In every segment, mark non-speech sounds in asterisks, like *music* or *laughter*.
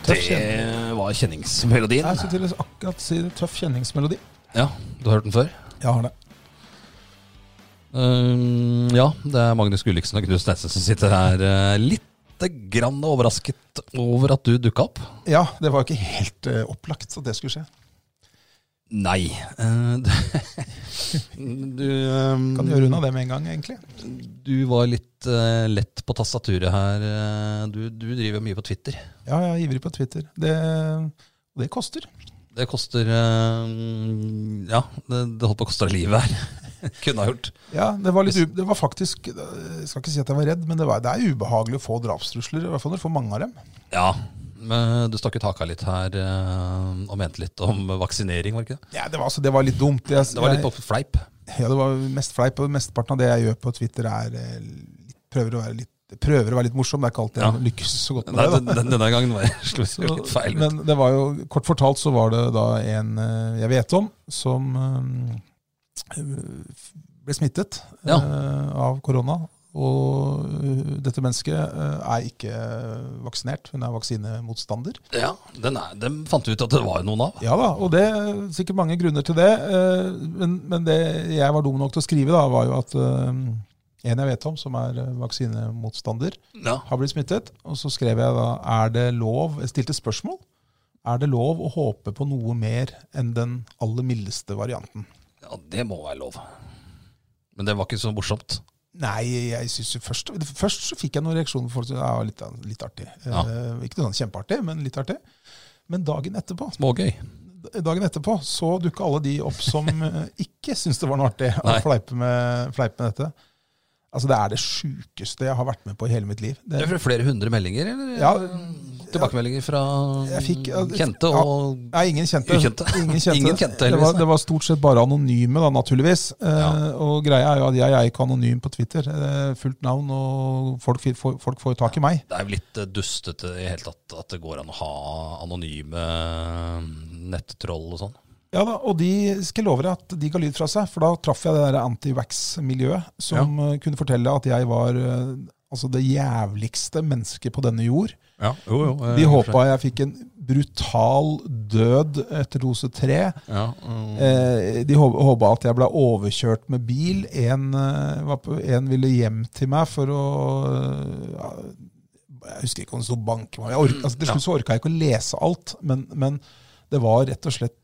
Tøff kjenning. Det var kjenningsmelodien. Jeg skulle til å akkurat si det. Tøff kjenningsmelodi. Ja, Du har hørt den før? Jeg har det. Um, ja, det er Magnus Gulliksen og Knut Steinsen som sitter her eh, litt grann overrasket over at du dukka opp. Ja, det var ikke helt eh, opplagt at det skulle skje. Nei. eh, *laughs* du du, um, Kan gjøre unna det med en gang, egentlig. du var litt eh, lett på tastaturet her. eh, Du, du driver mye på Twitter. Ja, jeg er ivrig på Twitter. Det, og det koster. Det koster eh, Ja, det, det holdt på å koste deg livet her. *laughs* Kunne ha gjort. Ja, det var, litt, u- det var faktisk eh, Jeg skal ikke si at jeg var redd, men det, var, det er ubehagelig å få drapstrusler. I hvert fall når du får mange av dem. Ja. Men du stakk ut haka litt her eh, og mente litt om vaksinering, var det ikke det? Ja, det, var, altså, det var litt dumt. Jeg, Det var litt på fleip. ja, det var mest fleip. og Mesteparten av det jeg gjør på Twitter, er eh, litt, prøver, å være litt, prøver å være litt morsom. Det er ikke alltid jeg lykkes så godt med Nei, det. da. den, den, denne gangen *laughs* var jeg slo jeg litt feil. ut. Men det var jo, kort fortalt så var det da en eh, jeg vet om, som eh, ble smittet Ja. eh, av korona. Og eh, dette mennesket eh, er ikke vaksinert, hun er vaksinemotstander. ja, den, er, den fant vi ut at det var noen av. Ja da, og det er sikkert mange grunner til det. eh, Men, men det jeg var dum nok til å skrive, da, var jo at eh, en jeg vet om, som er eh, vaksinemotstander, Ja. har blitt smittet. Og så skrev jeg da er det lov, jeg stilte spørsmål. Er det lov å håpe på noe mer enn den aller mildeste varianten? ja, det må være lov. Men det var ikke så morsomt. Nei, jeg synes jo først Først så fikk jeg noen reaksjoner fra folk som ja, litt, litt artig. Ja. Eh, ikke noe sånn kjempeartig, men litt artig. Men dagen etterpå Smågøy. dagen etterpå så dukka alle de opp *laughs* som eh, ikke syntes det var noe artig å Nei. fleipe med, fleipe med dette. Altså, det er det sjukeste jeg har vært med på i hele mitt liv. Det Det, er flere hundre meldinger, eller? ja, Tilbakemeldinger fra Jeg fikk- ja, det- kjente ja. og Nei, ingen kjente. Ukjente. *laughs* Ingen kjente. Ingen kjente, det, heldigvis, var, nei. det var stort sett bare anonyme, da, naturligvis. Eh, Ja. og greia er jo at jeg er ikke anonym på Twitter. Eh, fullt navn, og folk, fi- får- folk får jo tak i meg. Det er jo litt eh, dustete i hele tatt at det går an å ha anonyme eh, nettroll og sånn. Ja da, Og de skal jeg love deg at de ga lyd fra seg, for da traff jeg det der anti-wax-miljøet som eh, kunne fortelle at jeg var eh, altså det jævligste mennesket på denne jord. Ja, jo, eh, jo. De håpa jeg fikk en brutal død etter dose tre. ja, mm. Eh, De håpa at jeg ble overkjørt med bil. En, eh, var på, en ville hjem til meg for å eh, ja, Jeg husker ikke om det sto bank meg. Jeg ork- Altså, til slutt så orka jeg ikke å lese alt, men, men det var rett og slett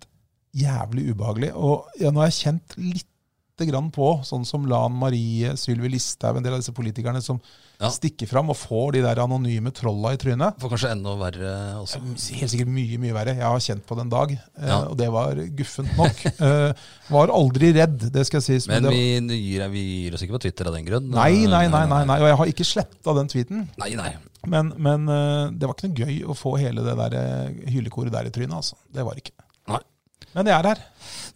jævlig ubehagelig. Og ja, nå har jeg kjent lite grann på, sånn som Lan Marie, Sylvi Listhaug, en del av disse politikerne som Ja. stikker fram og får de der anonyme trolla i trynet. For kanskje enda verre også. Helt sikkert mye, mye verre. Jeg har kjent på det en dag, eh, Ja. og det var guffent nok. *laughs* Eh, Var aldri redd, det skal sies. men Men det var- vi gir, vi gir oss ikke på Twitter av den grunn. nei, nei, nei, nei, nei. Og jeg har ikke sletta den tweeten. Nei, nei. Men, men eh, det var ikke noe gøy å få hele det der eh, hylekoret der i trynet, altså. Det var det ikke. nei. Men jeg er her.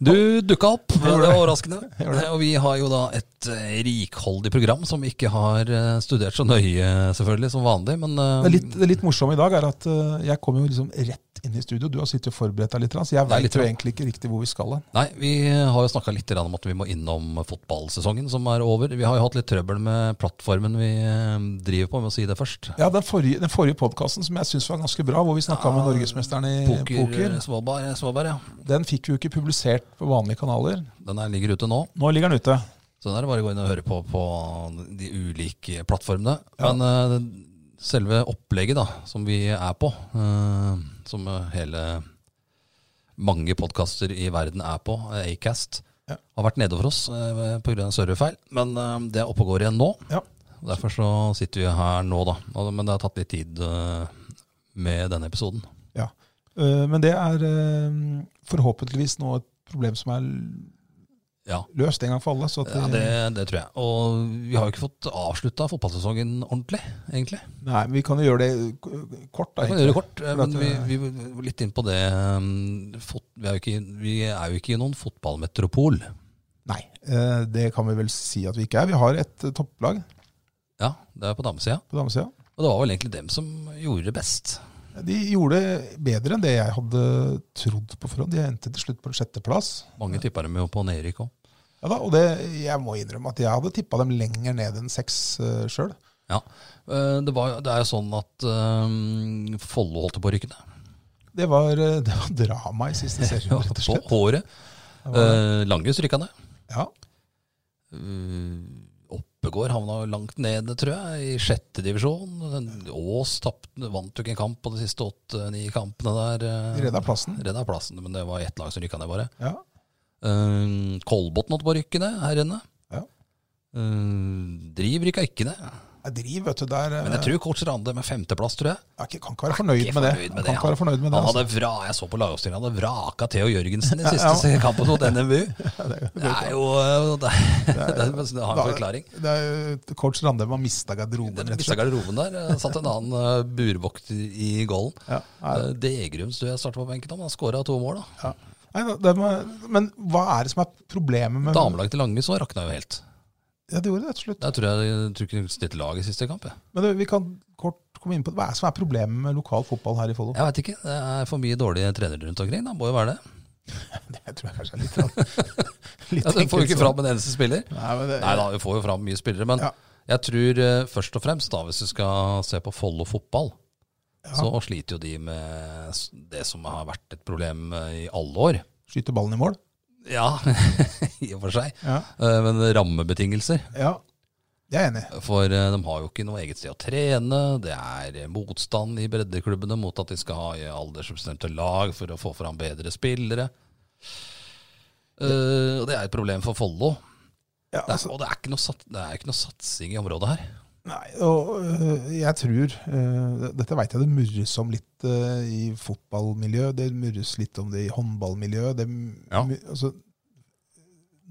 Du dukka opp, det gjorde var det. overraskende. gjorde det. Og vi har jo da et eh, rikholdig program som vi ikke har eh, studert så nøye, selvfølgelig, som vanlig. Men eh, Det litt, det litt morsomme i dag er at eh, jeg kom jo liksom rett inn i studio. Du har sittet og forberedt deg litt, så Det jeg er veit litt jo bra. egentlig ikke riktig hvor vi skal hen. nei, vi har jo snakka litt grann om at vi må innom fotballsesongen som er over. Vi har jo hatt litt trøbbel med plattformen vi eh, driver på, med å si det først. Ja, den forrige, den forrige podkasten som jeg syns var ganske bra, hvor vi snakka med norgesmesteren i Ah, Poker, Eh, eh, poker, Svaberg, Svaberg, ja. den fikk vi jo ikke publisert på vanlige kanaler. Den her ligger ute nå. Nå ligger den ute. Så den Sånn er det bare å gå inn og høre på på de ulike plattformene. Men eh, selve opplegget da, som vi er på, eh, som hele mange podkaster i verden er på, eh, Acast, Ja. har vært nede for oss eh, pga. serverfeil. Men eh, det er oppe og går igjen nå. Ja. Derfor så sitter vi her nå, da. Og- Men det har tatt litt tid eh, med denne episoden. ja. Eh, Men det er eh, forhåpentligvis nå et problem som er Ja. løst en gang for alle. Så at Ja, det, det tror jeg. Og vi har jo ikke fått avslutta fotballsesongen ordentlig, egentlig. Nei, vi kan jo gjøre det k- kort. Da, Vi kan gjøre det egentlig. kort, eh, men vi, vi var litt inn på det um, fot, vi, er jo ikke, vi er jo ikke i noen fotballmetropol. Nei, eh, det kan vi vel si at vi ikke er. Vi har et eh, topplag Ja, det er på damesida. på damesida. Og det var vel egentlig dem som gjorde det best. De gjorde det bedre enn det jeg hadde trodd på forhånd. De endte til slutt på en sjetteplass. Mange tippa dem jo på nedrykk òg. Ja da, og det, jeg må innrømme at jeg hadde tippa dem lenger ned enn seks uh, sjøl. Ja. Eh, Det, var, det er jo sånn at um, Follo holdt på å rykke ned. Det var, eh, det var drama *laughs* i siste serie, rett og På slett. håret. Eh, Langhus rykka ned. Ja, Eh, Oppegård havna jo langt nede, tror jeg, i sjette divisjon. Den- Ås tapte- vant jo ikke en kamp på de siste åtte-ni kampene der. de eh, redda plassen. Redda plassen, men det var ett lag som rykka ned, bare. Ja. Uh, Kolbotn holdt på å rykke ned her inne. Ja. Eh, driv rykka ikke ned. Jeg driver, vet du, der eh, Men jeg tror coach Rande med femteplass, tror jeg. jeg kan- kan ikke være fornøyd Ikke med det. fornøyd Jeg Kan ikke være fornøyd med det. Han Altså. hadde vra, jeg så på lagoppstillingen, han hadde vraka Theo Jørgensen i Ja, siste kampen *laughs* mot NMBU. Det er jo eh, Det, det, *laughs* det, det har en Da- forklaring. Det er, jo- coach Randem har mista garderoben, Den rett og mista slett. garderoben der. eh, Satt en annen eh, burvokter i golden. Ja, nei, Eh, Degrum tror jeg starta på benken, han har skåra to mål. da. ja. Nei, da- det må- men hva er det som er problemet med Damelaget til Lange så rakna jo helt. Ja, det gjorde det til slutt. Der tror jeg jeg tror ikke de stilte lag i siste kamp. Jeg, Men det, vi kan kort komme inn på det. Hva er det som er problemet med lokal fotball her i Follo? jeg veit ikke. Det er for mye dårlige trenere rundt omkring. Da må jo være det. *laughs* Det tror jeg kanskje er litt *laughs* rann- litt Ja, du får jo ikke enkelt fram en eneste spiller. sånn. Nei, men det, Nei da, vi får jo fram mye spillere, men Ja. jeg tror eh, først og fremst, da, hvis du skal se på Follo fotball, så sliter jo de med s- det som har vært et problem eh, i alle år. Skyter ballen i mål? Ja, *laughs* i og for seg. Ja. Eh, Men rammebetingelser. ja. Jeg er enig. For eh, de har jo ikke noe eget sted å trene. Det er eh, motstand i breddeklubbene mot at de skal ha eh, aldersbestemte lag for å få fram bedre spillere. Eh, Og det er et problem for Follo. Ja, Det er- altså, Og det er, ikke noe sat, det er ikke noe satsing i området her. Nei, og øh, jeg tror øh, Dette veit jeg det murres om litt øh, i fotballmiljø, det murres litt om det i håndballmiljø. Det, m- Ja. mu- altså,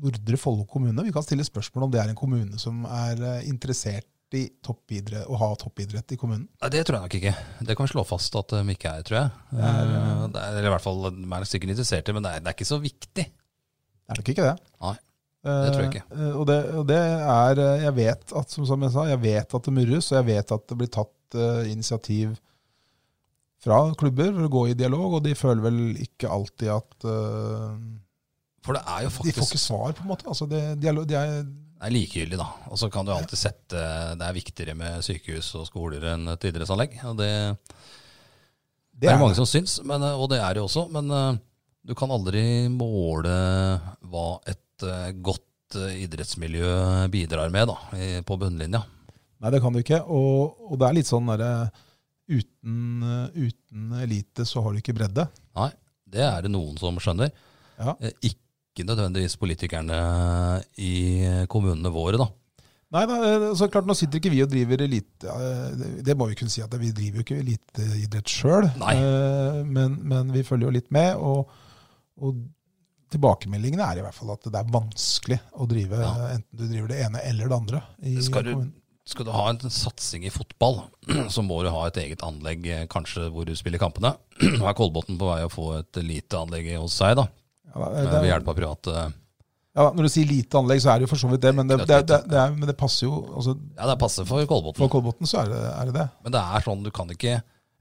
Nordre Follo kommune, vi kan stille spørsmål om det er en kommune som er øh, interessert i toppidrett, å ha toppidrett i kommunen. Nei, Det tror jeg nok ikke. Det kan vi slå fast at de ikke er, tror jeg. Eh, Det er, eller i hvert fall de er sikkert interessert i, men det er, det er ikke så viktig. Det er nok ikke det. Nei. det tror jeg ikke. Eh, og, det, og det er eh, Jeg vet at som, som jeg sa, jeg vet at det murres, og jeg vet at det blir tatt eh, initiativ fra klubber for å gå i dialog, og de føler vel ikke alltid at eh, For det er jo De får faktisk ikke svar, på en måte. Altså, det, dialog, de er, det er likegyldig, da. Og så kan du alltid sette Det er viktigere med sykehus og skoler enn et idrettsanlegg. Og det, det er det mange som syns, men, eh, og det er det jo også. Men eh, du kan aldri måle hva et eh, godt eh, idrettsmiljø bidrar med da, i- på bunnlinja. Nei, det kan du ikke. Og, og det er litt sånn derre uten, eh, uten elite så har du ikke bredde. Nei, det er det noen som skjønner. Ja. Eh, Ikke nødvendigvis politikerne i kommunene våre, da. Nei, da, eh, så klart, Nå sitter ikke vi og driver elite eh, det- Det må vi kunne si at vi driver jo ikke eliteidrett sjøl. Eh, Nei. Men, men vi følger jo litt med. Og, og tilbakemeldingene er i hvert fall at det er vanskelig å drive Ja. eh, enten du driver det ene eller det andre. I, Skal du, kommunen. skal du ha en satsing i fotball, *clears throat* så må du ha et eget anlegg eh, kanskje hvor du spiller kampene. *clears throat* Nå er Kolbotn på vei å få et lite anlegg hos seg, da. ja, da, eh, det, Ved hjelp av private ja, da, når du sier lite anlegg, så er det jo for så vidt det, men det, Knøttlite. det, det, det, er, men det passer jo altså, Ja, det er passe for For Kolbotn. Kolbotn så er det er det. det. Men det er sånn, du kan ikke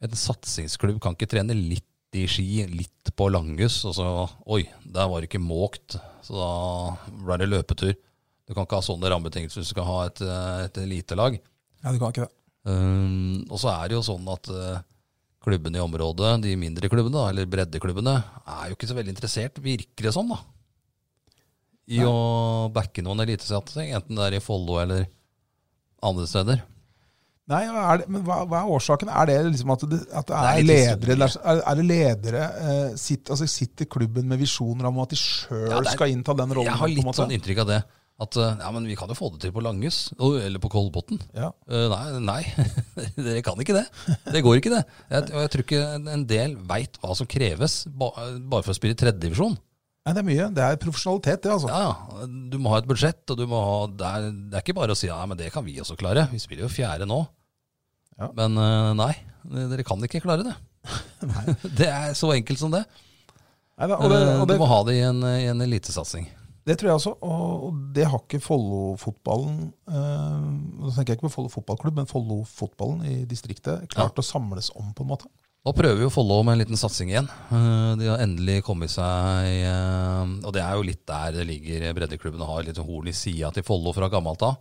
En satsingsklubb kan ikke trene litt i ski, litt på langhus, og så Oi, der var det ikke måkt, så da ble det løpetur. Du kan ikke ha sånne rammebetingelser hvis du skal ha et, eh, et elitelag. Ja, du kan ikke det. Um, og så er det jo sånn at eh, klubbene i området, de mindre klubbene, da, eller breddeklubbene, er jo ikke så veldig interessert, virker det som, da. I å backe noen elitesatsing, enten det er i Follo eller andre steder. Nei, hva er det, men hva, hva er årsaken? Er det liksom at det, at det Det er, er litt ledere, der, er, er det ledere eh, sitt, altså Sitter klubben med visjoner om at de sjøl Ja, det er- skal innta den rollen? Jeg har på en litt måte? sånn inntrykk av det. At eh, ja, men vi kan jo få det til på Langhus, og- eller på Kolbotn. ja. Eh, nei, *laughs* nei. dere kan ikke det. Det går ikke, det. Jeg, og jeg tror ikke en del veit hva som kreves ba, bare for å spille tredjedivisjon. Nei, det er mye. Det er profesjonalitet, det, altså. Ja, ja. Du må ha et budsjett, og du må ha, det, er, det er ikke bare å si ja, men det kan vi også klare. Vi spiller jo fjerde nå. Ja. Men eh, nei, dere kan ikke klare *laughs* det. *laughs* det er så enkelt som det. Eh, Nei, da, og det, og det, du må ha det i en, i en elitesatsing. det tror jeg også. Og, og det har ikke Follo-fotballen eh, Nå tenker jeg ikke på Follo fotballklubb, men Follo-fotballen i distriktet klart å samles om, på en måte. Nå prøver jo Follo med en liten satsing igjen. Eh, De har endelig kommet seg eh, Og det er jo litt der det ligger. Breddeklubbene har litt horn i sida til Follo fra gammelt av.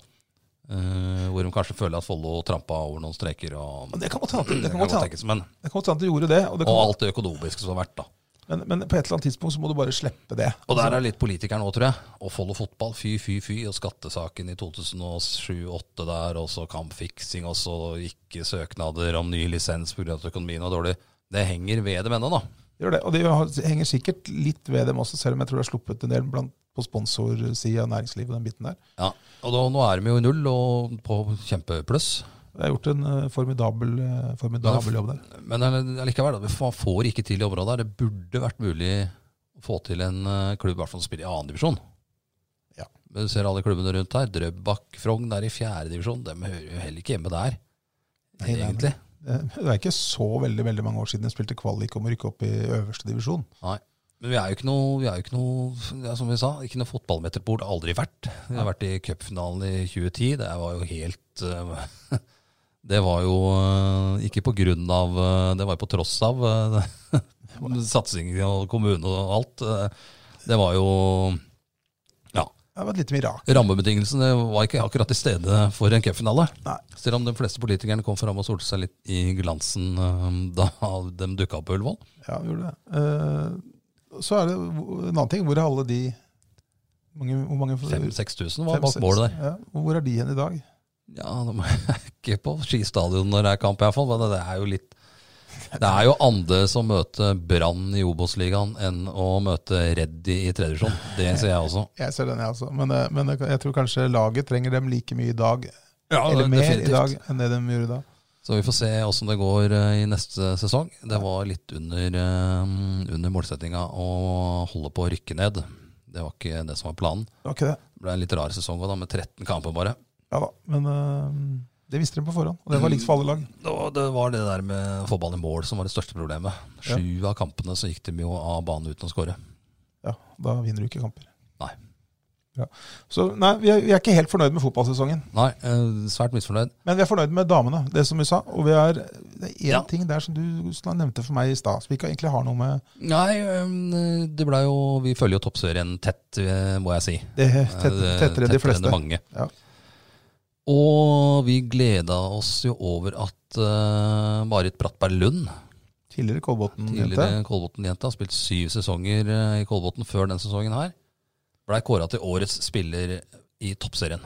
eh, Hvor de kanskje føler at Follo trampa over noen streker. Og, Men det kan godt hende det det kan kan godt godt hende- tenkes, men, det kan godt hende de gjorde det. Og det og kan, alt det økonomiske som har vært, da. men, men på et eller annet tidspunkt så må du bare slippe det. Og der er litt politikeren òg, tror jeg. Og Follo fotball, fy, fy, fy. Og skattesaken i 2007-2008 der, og så kampfiksing, og så ikke søknader om ny lisens pga. at økonomien var dårlig. Det henger ved dem ennå, da. Gjør det, og det har- henger sikkert litt ved dem også, selv om jeg tror det har sluppet en del blant, på sponsorsida av næringslivet. den biten der. Ja, og da, nå er de jo i null og på kjempepluss. Det er gjort en eh, formidabel, eh, formidabel jobb der. Men all- allikevel, da, man får ikke til i området her. Det burde vært mulig å få til en eh, klubb i hvert fall som spiller i annen divisjon. Ja. Men du ser alle klubbene rundt her. Drøbak, Frogn er i fjerde divisjon. De hører jo heller ikke hjemme der, Nei, nei, egentlig. Eh, Det er ikke så veldig veldig mange år siden de spilte kvalik om å rykke opp i øverste divisjon. Nei. Men vi er jo ikke noe, vi er jo ikke noe ja, som vi sa, ikke noe fotballmeterbord. Aldri vært. Vi har vært i cupfinalen i 2010. Det var jo helt eh, *laughs* Det var jo eh, ikke på grunn av eh, Det var jo på tross av eh, *laughs* satsing og kommune og alt. eh. Det var jo Ja. Det var et lite mirakel. Rammebetingelsene var ikke akkurat til stede for en cupfinale. Nei. Selv om de fleste politikerne kom fram og solte seg litt i glansen eh, da de dukka opp på Ullevål. Ja, vi gjorde det. Eh, Så er det hvor- en annen ting. Hvor er alle de mange, Hvor mange 5000-6000 var Mm. fem, bak seks- målet der. Ja, og hvor er de hen i dag? Ja, de er *laughs* ikke på skistadion når det er kamp, iallfall. Men det er jo litt Det er jo andre som møter Brann i Obos-ligaen enn å møte Reddy i tredje divisjon. Det ser jeg også. Jeg ser den, jeg også. Men, eh, men jeg tror kanskje laget trenger dem like mye i dag, Ja, eller mer i dag, enn det de gjorde da. Så vi får se åssen det går eh, i neste sesong. Det var litt under, eh, under målsettinga å holde på å rykke ned. Det var ikke det som var planen. Det var ikke det. Det ble en litt rar sesong også da, med 13 kamper bare. Ja da, men eh, det visste de på forhånd. Og det var likt for alle lag. Det var, det var det der med å få ballen i mål som var det største problemet. Ja. Sju av kampene så gikk de jo av banen uten å skåre. Ja, Da vinner du ikke kamper. Nei. Ja. Så nei, vi er, vi er ikke helt fornøyd med fotballsesongen. Nei, eh, svært misfornøyd. Men vi er fornøyd med damene, det som vi sa. Og vi er, det er én Ja. ting der som du sla- nevnte for meg i stad, som vi ikke egentlig har noe med Nei, eh, det ble jo Vi følger jo toppserien tett, eh, må jeg si. det tett, Eh, tettere, enn de fleste. Tettere enn mange. Ja. Og vi gleda oss jo over at eh, Marit Brattberg Lund, Tidligere Kolbotn-jente. tidligere Kolbotn-jente, har spilt syv sesonger eh, i Kolbotn før denne sesongen her, blei kåra til årets spiller i toppserien.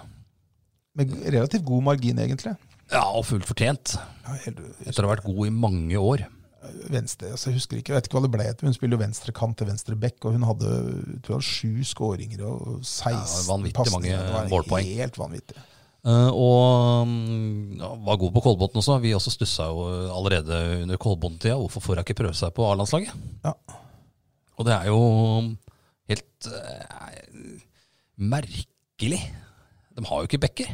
Med relativt god margin, egentlig. Ja, og fullt fortjent, Ja, helt, etter å ha vært god i mange år. venstre, altså, jeg husker ikke, jeg vet ikke hva det ble etter. Hun spiller jo venstre kant til venstre bekk, og hun hadde tror jeg, sju skåringer og 16 Ja, vanvittig pasninger. mange Det var målpoeng. Helt vanvittig. Eh, og mm, ja, var god på Kolbotn også. Vi også stussa jo eh, allerede under Kolbotn-tida. Hvorfor får hun ikke prøve seg på A-landslaget? Ja. Og det er jo mm, helt eh, merkelig. De har jo ikke bekker.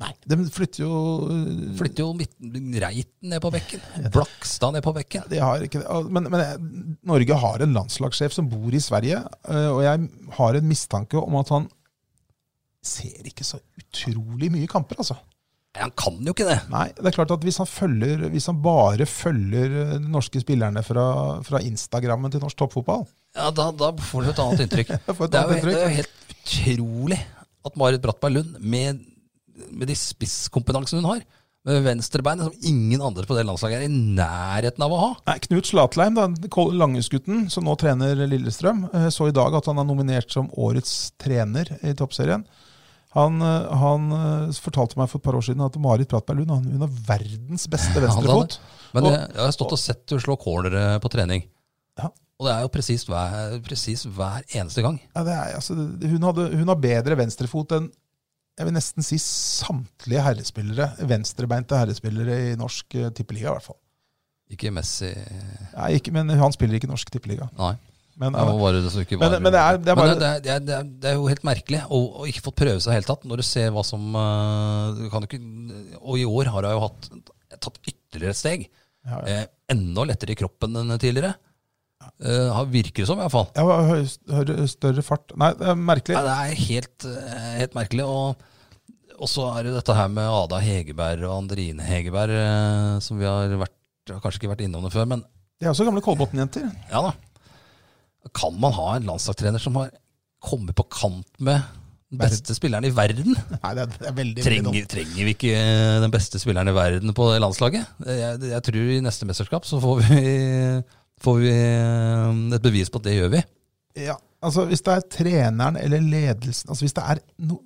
Nei, de flytter jo øh, Flytter jo midten, Reiten ned på bekken. Blakstad ned på bekken. De har ikke det. Al- Men, men jeg- Norge har en landslagssjef som bor i Sverige, eh, og jeg har en mistanke om at han ser ikke så utrolig mye kamper, altså. Nei, Han kan jo ikke det! Nei, det er klart at hvis han, følger, hvis han bare følger eh, de norske spillerne fra, fra Instagrammen til norsk toppfotball Ja, Da, da får du et annet inntrykk. Jeg får et Det er, annet jo, det inntrykk. er jo helt utrolig at Marit Brattberg Lund, med, med de spisskompetansene hun har, med venstrebeinet som ingen andre på det landslaget er i nærheten av å ha Nei, Knut Slatleim, da, Kol- Langhusgutten, som nå trener Lillestrøm, eh, så i dag at han er nominert som årets trener i toppserien. Han, eh, han eh, fortalte meg for et par år siden at Marit Pratberg Lund han- hun har verdens *laughs* beste han hadde- venstrefot. Men Og- jeg, jeg har stått og sett henne slå cornere på trening. Ja. Og det er jo presis hver, presis hver eneste gang. Ja, det er, altså, det- hun, hadde, hun har bedre venstrefot enn jeg vil nesten si samtlige herrespillere, venstrebeinte herrespillere i norsk eh, tippeliga, i hvert fall. Ikke Messi Nei, ikke, men han spiller ikke i norsk tippeliga. Nei. Men, eh, Det var bare det som altså, ikke var Men- men det er- det Men er bare- det, det, er, det, er, det er jo helt merkelig å, å ikke fått prøve seg i det hele tatt, når du ser hva som eh, du kan jo ikke, Og i år har jeg jo hatt, tatt ytterligere et steg. ja, ja. Eh, enda lettere i kroppen enn tidligere. Eh, har- virker det som, i hvert fall. Ja, hø- hø- større fart Nei, det er merkelig. Nei, det er helt, eh, helt merkelig. Og, og så er det dette her med Ada Hegerberg og Andrine Hegerberg, eh, som vi har vært, har kanskje ikke vært innom det før, men De er også gamle Kolbotn-jenter. ja da. Kan man ha en landslagstrener som har kommet på kant med den beste spilleren i verden? Nei, det er, det er veldig veldig dumt. Trenger, trenger vi ikke eh, den beste spilleren i verden på det landslaget? Eh, Jeg, jeg tror i neste mesterskap så får vi, *laughs* får vi eh, et bevis på at det gjør vi. Ja, altså Hvis det er treneren eller ledelsen altså Hvis det er no,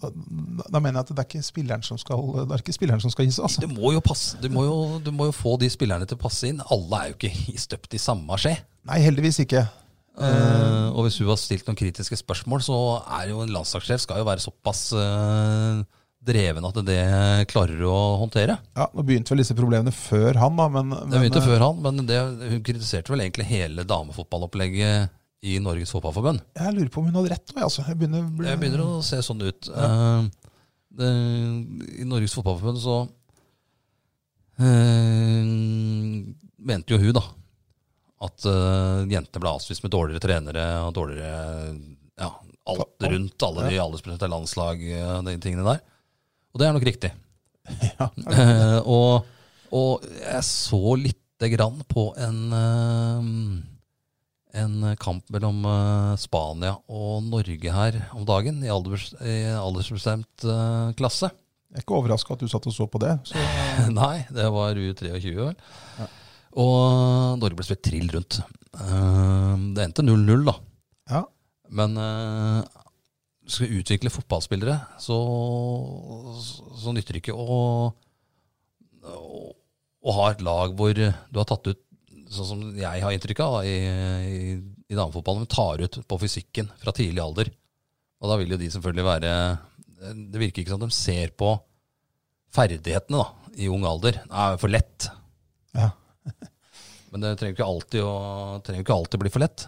da, da, da mener jeg at det er ikke spilleren som skal, det er ikke spilleren som skal gis. Altså. Det må jo passe, du må jo, du må jo få de spillerne til å passe inn. Alle er jo ikke støpt i samme skje. Nei, heldigvis ikke. Eh, og hvis du har stilt noen kritiske spørsmål, så er jo en landslagssjef skal jo være såpass eh, dreven at det klarer å håndtere. Ja, Nå begynte vel disse problemene før han, da, men, men eh, Det begynte før han, men det, hun kritiserte vel egentlig hele damefotballopplegget i Norges Fotballforbund. eh, jeg lurer på om hun hadde rett. også, Jeg, altså. jeg begynner, å bli- Det *laughs* begynner å se sånn ut. Eh, det, I Norges Fotballforbund så eh, mente jo hun da at eh, jentene ble avspist med dårligere trenere og dårligere ja, alt rundt, alle de aldersbestemte landslag, eh, de tingene der. Og det er nok riktig. Eh, og, og jeg så lite grann på en eh, en kamp mellom eh, Spania og Norge her om dagen, i, alders, i aldersbestemt eh, klasse. jeg er ikke overraska at du satt og så på det. Så, *laughs* Nei, det var U23, vel. Og Norge ble spilt trill rundt. Eh, Det endte 0-0, da. ja. Men eh, skal vi utvikle fotballspillere, så, så nytter det ikke å, å, å ha et lag hvor du har tatt ut Sånn som jeg har inntrykk av da, i, i, i damefotballen, men tar ut på fysikken fra tidlig alder. Og da vil jo de selvfølgelig være Det virker ikke som de ser på ferdighetene da, i ung alder. Det er for lett. Ja. Men det trenger ikke alltid, å, trenger ikke alltid bli for lett.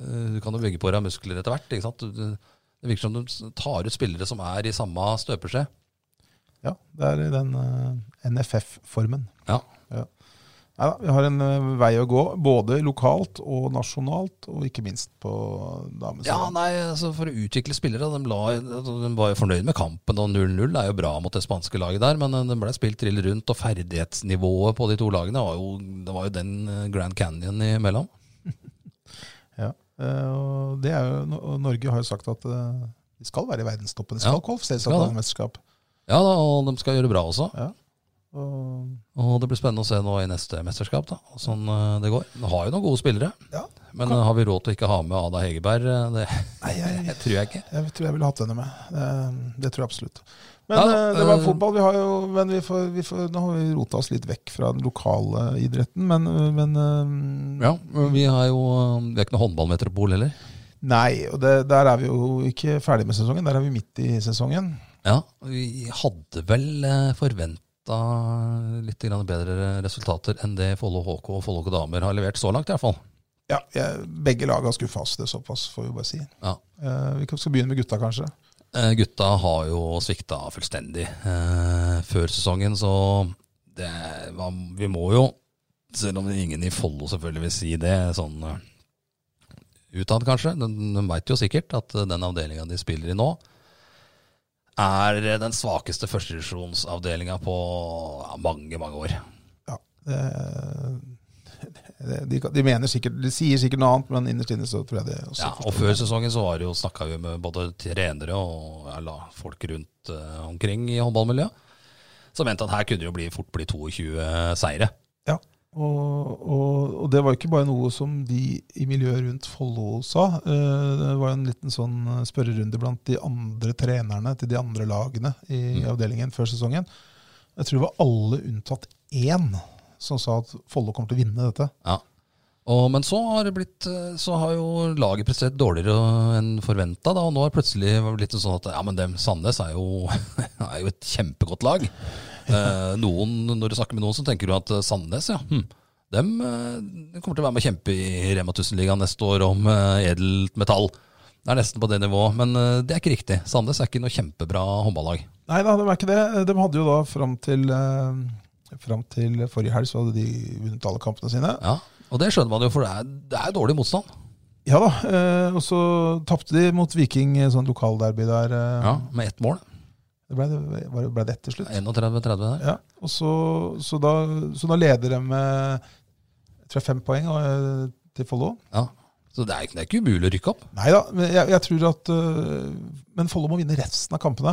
Eh, Du kan jo bygge på deg muskler etter hvert. Ikke sant? Du- du- Det virker som de s- tar ut spillere som er i samme støpeskje. ja, det er i den eh, NFF-formen. Ja. Neida, vi har en eh, vei å gå, både lokalt og nasjonalt, og ikke minst på damesiden. nei, altså For å utvikle spillere de, la, altså, de var jo fornøyd med kampen, og 0-0 er jo bra mot det spanske laget der. Men det ble spilt trill rundt, og ferdighetsnivået på de to lagene var jo, det var jo den eh, Grand Canyon imellom. Ja. Eh, og det er jo, no- og Norge har jo sagt at eh, de skal være i verdenstoppen. De skal Ja, kvalifisere seg skal til det. mesterskap. Ja da, og de skal gjøre det bra også. Og, Og det blir spennende å se nå i neste mesterskap, da, sånn eh, det går. De har jo noen gode spillere. ja. Men eh, har vi råd til å ikke ha med Ada Hegerberg? eh, Det, *laughs* Nei, jeg, det tror jeg ikke. jeg tror jeg ville hatt henne med. Eh, Det, det tror jeg absolutt. Men Ja, da, eh, det var eh, fotball. Vi har jo, men vi får, vi får, nå har vi rota oss litt vekk fra den lokale idretten, men, men eh, Ja, men vi, har jo, eh, vi er ikke noe håndballmetropol heller. Nei, og det, der er vi jo ikke ferdig med sesongen. Der er vi midt i sesongen. Ja, Vi hadde vel forventa litt grann bedre resultater enn det Follo HK og Follo HK Damer har levert så langt, i hvert fall. Ja, jeg, Begge lag har skuffa oss, det er såpass får vi bare si. Ja. Eh, vi kan- skal begynne med gutta, kanskje. Eh, Gutta har jo svikta fullstendig eh, før sesongen, så det, man, vi må jo Selv om ingen i Follo selvfølgelig vil si det, sånn eh, utad kanskje. De, de veit jo sikkert at eh, den avdelinga de spiller i nå, er eh, den svakeste førstedivisjonsavdelinga på ja, mange, mange år. Ja, det, det, de, kan- de mener sikkert De sier sikkert noe annet, men innerst inne så tror jeg det også Ja, og før sesongen så var det jo, snakka vi med både trenere og ja, la folk rundt eh, omkring i håndballmiljøet, som mente at her kunne det jo bli, fort bli 22 seire. Ja, og, og, og det var ikke bare noe som de i miljøet rundt Follo sa. Eh, Det var jo en liten sånn eh, spørrerunde blant de andre trenerne til de andre lagene i avdelingen før sesongen. Jeg tror det var alle unntatt én som sa at Follo kommer til å vinne dette. Ja. Og, men så har, det blitt, eh, så har jo laget prestert dårligere enn forventa. Og nå har det plutselig blitt sånn at ja, men dem, Sandnes er jo, *laughs* er jo et kjempegodt lag. Eh, noen, når du snakker med noen, så tenker du at eh, Sandnes, ja. Hm, Dem eh, kommer til å være med og kjempe i Rema 1000-ligaen neste år om eh, edelt metall. Det er nesten på det nivået, men eh, det er ikke riktig. Sandnes er ikke noe kjempebra håndballag. Nei da, det var ikke det. Eh, De hadde jo da fram til, eh, fram til forrige helg så hadde de vunnet alle kampene sine. Ja, Og det skjønner man jo, for det er, det er dårlig motstand. Ja da, eh, og så tapte de mot Viking i sånn lokalderby der. eh. Ja, Med ett mål. Det ble, det var- ble det til slutt. 31-30 der. Ja, og så, så, da, så da leder de med jeg tror det er fem poeng eh, til Follo. Ja. Så det er, ikke- det er ikke umulig å rykke opp. Nei da, men jeg, jeg tror at eh, Men Follo må vinne resten av kampene.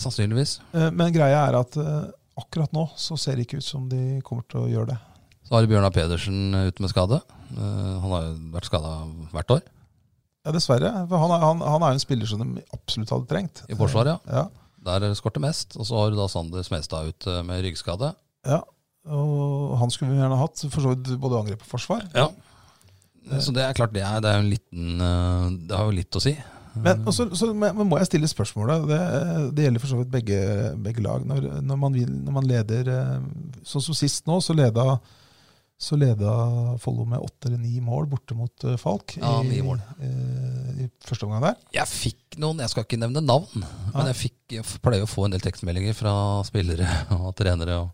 Sannsynligvis. Eh, Men greia er at eh, akkurat nå så ser det ikke ut som de kommer til å gjøre det. Så har Bjørnar Pedersen ute med skade. Eh, Han har jo vært skada hvert år Ja, Dessverre. For han er, han, han er jo en spiller som de absolutt hadde trengt. i Forsvaret. ja. Ja, Der skorter mest. Og så har du da Sander Smestad ut eh, med ryggskade. ja. Og han skulle vi gjerne hatt. For så vidt både angrep og forsvar. Ja. Eh, Så det er klart, det er, det er jo en liten eh, Det har jo litt å si. Men, og så, så, men men må jeg stille spørsmålet. Det, det gjelder for så vidt begge, begge lag. Når, når, man, vil- når man leder eh, Sånn som sist nå, så leda, så leda Follo med åtte eller ni mål borte mot eh, Falk. Ja, ni mål. I, eh, I første omgang der. Jeg fikk noen, jeg skal ikke nevne navn, men jeg, fikk, jeg f- pleier å få en del tekstmeldinger fra spillere *laughs* og trenere. Og,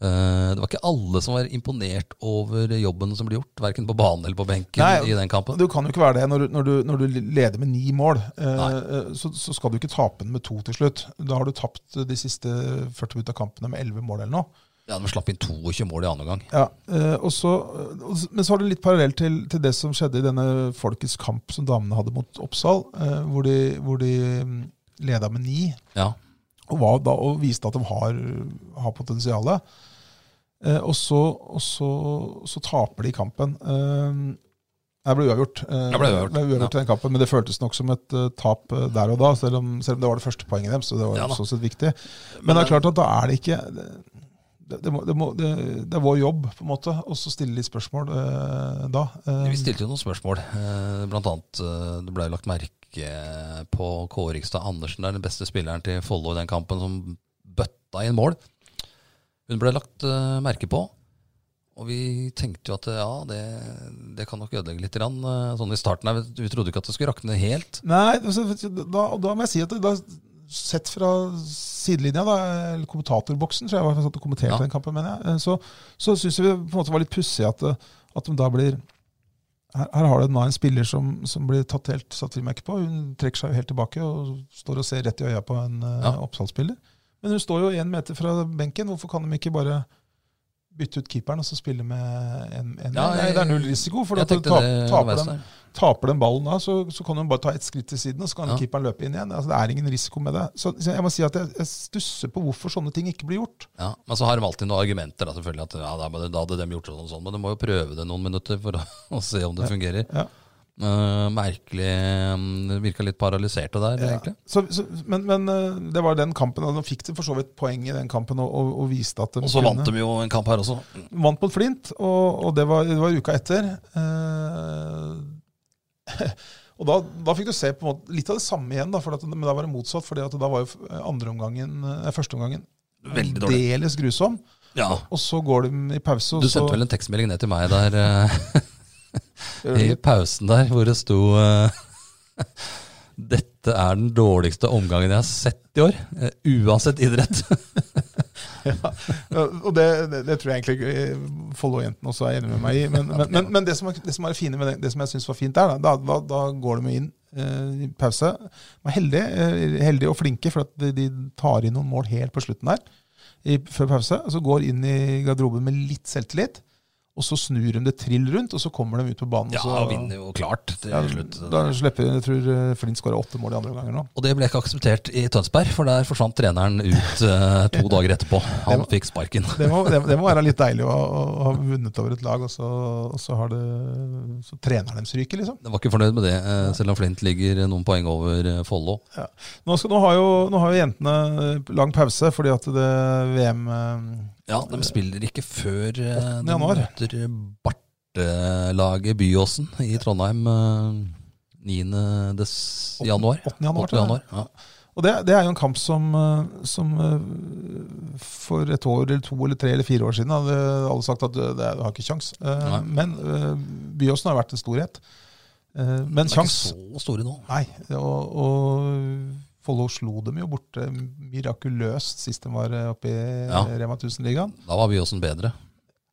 eh, det var ikke alle som var imponert over jobben som ble gjort, verken på banen eller på benken Nei, i den kampen. Du kan jo ikke være det når, du- når, du, når du leder med ni mål. Eh, så, så skal du ikke tape den med to til slutt. Da har du tapt de siste 40 ut av kampene med 11 mål eller noe. Ja, De slapp inn 22 mål i annen omgang. Ja, eh, og så, og s- Men så har det litt parallell til, til det som skjedde i denne Folkets kamp som damene hadde mot Oppsal, eh, hvor de, hvor de mm, leda med ni Ja. og, var da, og viste at de har, har potensialet. Eh, og så, og så, så taper de kampen. Eh, det ble uavgjort. Eh, Det ble uavgjort, det uavgjort i den kampen, men det føltes nok som et eh, tap eh, der og da, selv om, selv om det var det første poenget deres. Så det var Ja da. sånn sett viktig. Men, det er klart at da er det ikke det, det, må, det, må, det, det er vår jobb på en måte å så stille litt spørsmål eh, da. Eh, Vi stilte jo noen spørsmål. eh, Blant annet, eh, det ble jo lagt merke på Kårigstad Andersen, der, den beste spilleren til Follo i den kampen, som bøtta inn mål. Hun ble lagt eh, merke på. Og vi tenkte jo at eh, ja, det, det kan nok ødelegge litt. grann, eh, Sånn i starten her, Vi trodde ikke at det skulle rakne helt. Nei, altså, da, og da må jeg si at det, da, sett fra sidelinja, da, eller kommentatorboksen, tror jeg var jeg satt og kommenterte Ja. den kampen, mener jeg, eh, så, så syns vi på en måte var litt pussig at, eh, at de da blir her, her har du da en spiller som, som blir tatt helt satt frimerke på. Hun trekker seg jo helt tilbake og står og ser rett i øya på en eh, Ja. Oppsal-spiller. Men hun står jo én meter fra benken. Hvorfor kan de ikke bare bytte ut keeperen og så spille med en, en Ja, Nei, jeg- det er null risiko, for Jeg at du tenkte tap, det taper underveis dem der. Taper den ballen da, så, så kan hun bare ta ett skritt til siden, og så kan Ja. keeperen løpe inn igjen. Altså, det er ingen risiko med det. Så, så jeg må si at jeg, jeg stusser på hvorfor sånne ting ikke blir gjort. Ja, Men så har de alltid noen argumenter. Da, selvfølgelig at ja, da, da hadde de gjort sånn og sånn, men de må jo prøve det noen minutter for å, *laughs* å se om det fungerer. Ja. Eh, merkelig mm, Virka litt paralyserte der, egentlig. Så, så, men men eh, det var den kampen, og de fikk de for så vidt poeng i den kampen og, og, og viste at de Og så vant de jo en kamp her også. vant mot Flint, og, og det, var, det var uka etter. Eh, *laughs* og da, da fikk du se på en måte litt av det samme igjen, da, for at, men da var det motsatt. For da var jo f- andreomgangen, eh, førsteomgangen Veldig dårlig. deles grusom. Ja. Og så går de i pause. og Du så- sendte vel en tekstmelding ned til meg der eh, i pausen der, hvor det sto eh, *laughs* dette er den dårligste omgangen jeg har sett i år, eh, uansett idrett. Ja, og det, det, det tror jeg egentlig eh, Follo-jentene også er enig med meg i. Men, men, men, men det, som er, det som er fine med det, det som jeg syns var fint der, da, da, da går de jo inn eh, i pause. De er heldige, eh, heldige og flinke, for at de, de tar inn noen mål helt på slutten der. I, før pause. Og så går inn i garderoben med litt selvtillit. Og så snur de det trill rundt, og så kommer de ut på banen. Ja, og så, og vinner jo klart til Ja, slutt. da slipper Jeg tror eh, Flint skåra åtte mål i andre omganger nå. Og det ble ikke akseptert i Tønsberg, for der forsvant treneren ut eh, to dager etterpå. Han fikk sparken. Det må, det, det må være litt deilig å, å, å ha vunnet over et lag, og så, og så, har det, så treneren deres ryker, liksom. Jeg var ikke fornøyd med det, eh, selv om Flint ligger noen poeng over eh, Follo. Ja. Nå, skal, nå, har jo, nå har jo jentene eh, lang pause fordi at det VM eh, Ja, de spiller ikke før eh, Åttende de januar. møter Bartelaget Byåsen i Trondheim eh, 9. Des januar. åttende januar, Åttende tror jeg. januar, ja. Og det, det er jo en kamp som, eh, som eh, for et år eller to eller tre eller fire år siden hadde alle sagt at eh, det er- du har ikke kjangs. Eh, Nei. Men eh, Byåsen har vært en storhet. Eh, Men De er ikke kjangs så store nå. Nei. Og, og Follo slo dem jo borte mirakuløst sist de var eh, oppe i Ja. Rema 1000-ligaen. Da var Byåsen bedre.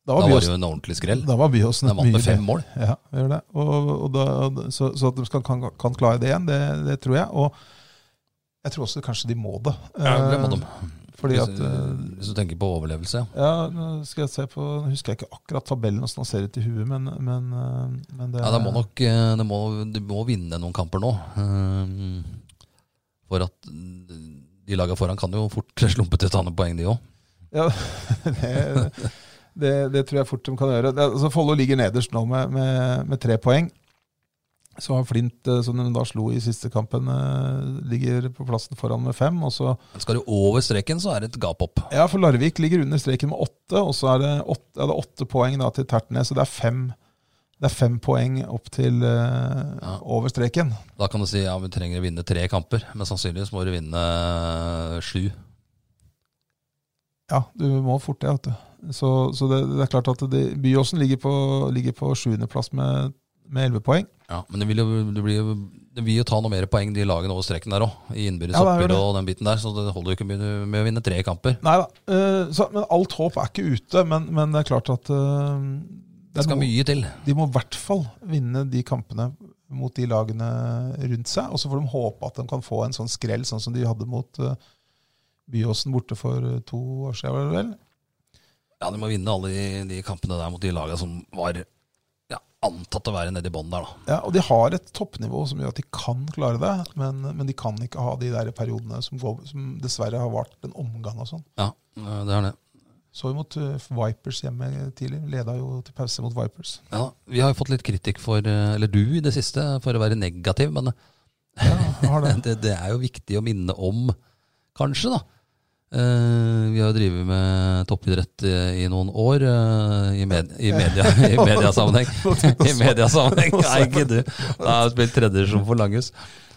Da Da var var det Byåsen, jo en ordentlig skrell. da var Byåsen De et vant mye med fem bedre- mål. Ja, det gjør det. Og, og da, så, så at de skal, kan, kan klare det igjen, det, det tror jeg. Og jeg tror også kanskje de må det. Ja, det må de. Eh, Fordi Hvis, at eh, hvis du tenker på overlevelse, ja. ja, nå skal jeg se på Nå husker jeg ikke akkurat tabellen hvordan den ser ut i huet, men, men, eh, men det, Ja, det må nok eh, det må, De må vinne noen kamper nå. eh, For at de laga foran kan jo fort *laughs* slumpe til å ta noen poeng, de òg. Ja, det, det, det tror jeg fort de kan gjøre. Det, altså, Follo ligger nederst nå med, med, med tre poeng. Så har Flint, eh, som de da slo i siste kampen, eh, ligger på plassen foran med fem. Og så Skal du over streken, så er det et gap opp. Ja, for Larvik ligger under streken med åtte, og så er det åtte, ja, det er åtte poeng da, til Tertnes. Så det er fem, det er fem poeng opp til eh, Ja. over streken. Da kan du si ja, vi trenger å vinne tre kamper, men sannsynligvis må du vinne eh, sju. Ja, du må fort det. vet du. Så, så det, det er klart at det, Byåsen ligger på, ligger på sjuendeplass med med elleve poeng. Ja, men det vil, jo, det, blir jo, det vil jo ta noe mer poeng, de lagene over streken der òg. I innbyrdes Ja, det er jo oppgjør og den biten der, så det holder jo ikke med, med å vinne tre kamper. Nei da. eh, så- men alt håp er ikke ute. Men, men det er klart at eh, det Det er skal noe, mye til. de må i hvert fall vinne de kampene mot de lagene rundt seg. Og så får de håpe at de kan få en sånn skrell, sånn som de hadde mot eh, Byåsen borte for eh, to år siden. Var det vel? Ja, de må vinne alle de, de kampene der mot de lagene som var ja, antatt å være nede i bånn der, da. Ja, og de har et toppnivå som gjør at de kan klare det, men, men de kan ikke ha de der periodene som, går, som dessverre har vart en omgang og sånn. Ja, øh, det er det. Så vi mot eh, Vipers hjemme tidlig. Leda jo til pause mot Vipers. Ja, vi har jo fått litt kritikk for, øh, eller du i det siste, for å være negativ, men Ja, har det. *laughs* det, det er jo viktig å minne om, kanskje, da. Eh, vi har jo drevet med toppidrett eh, i noen år, eh, i, med, i, media, i mediasammenheng. I mediasammenheng, nei, ikke du. Nei, jeg har spilt tredjevisjon for Langhus.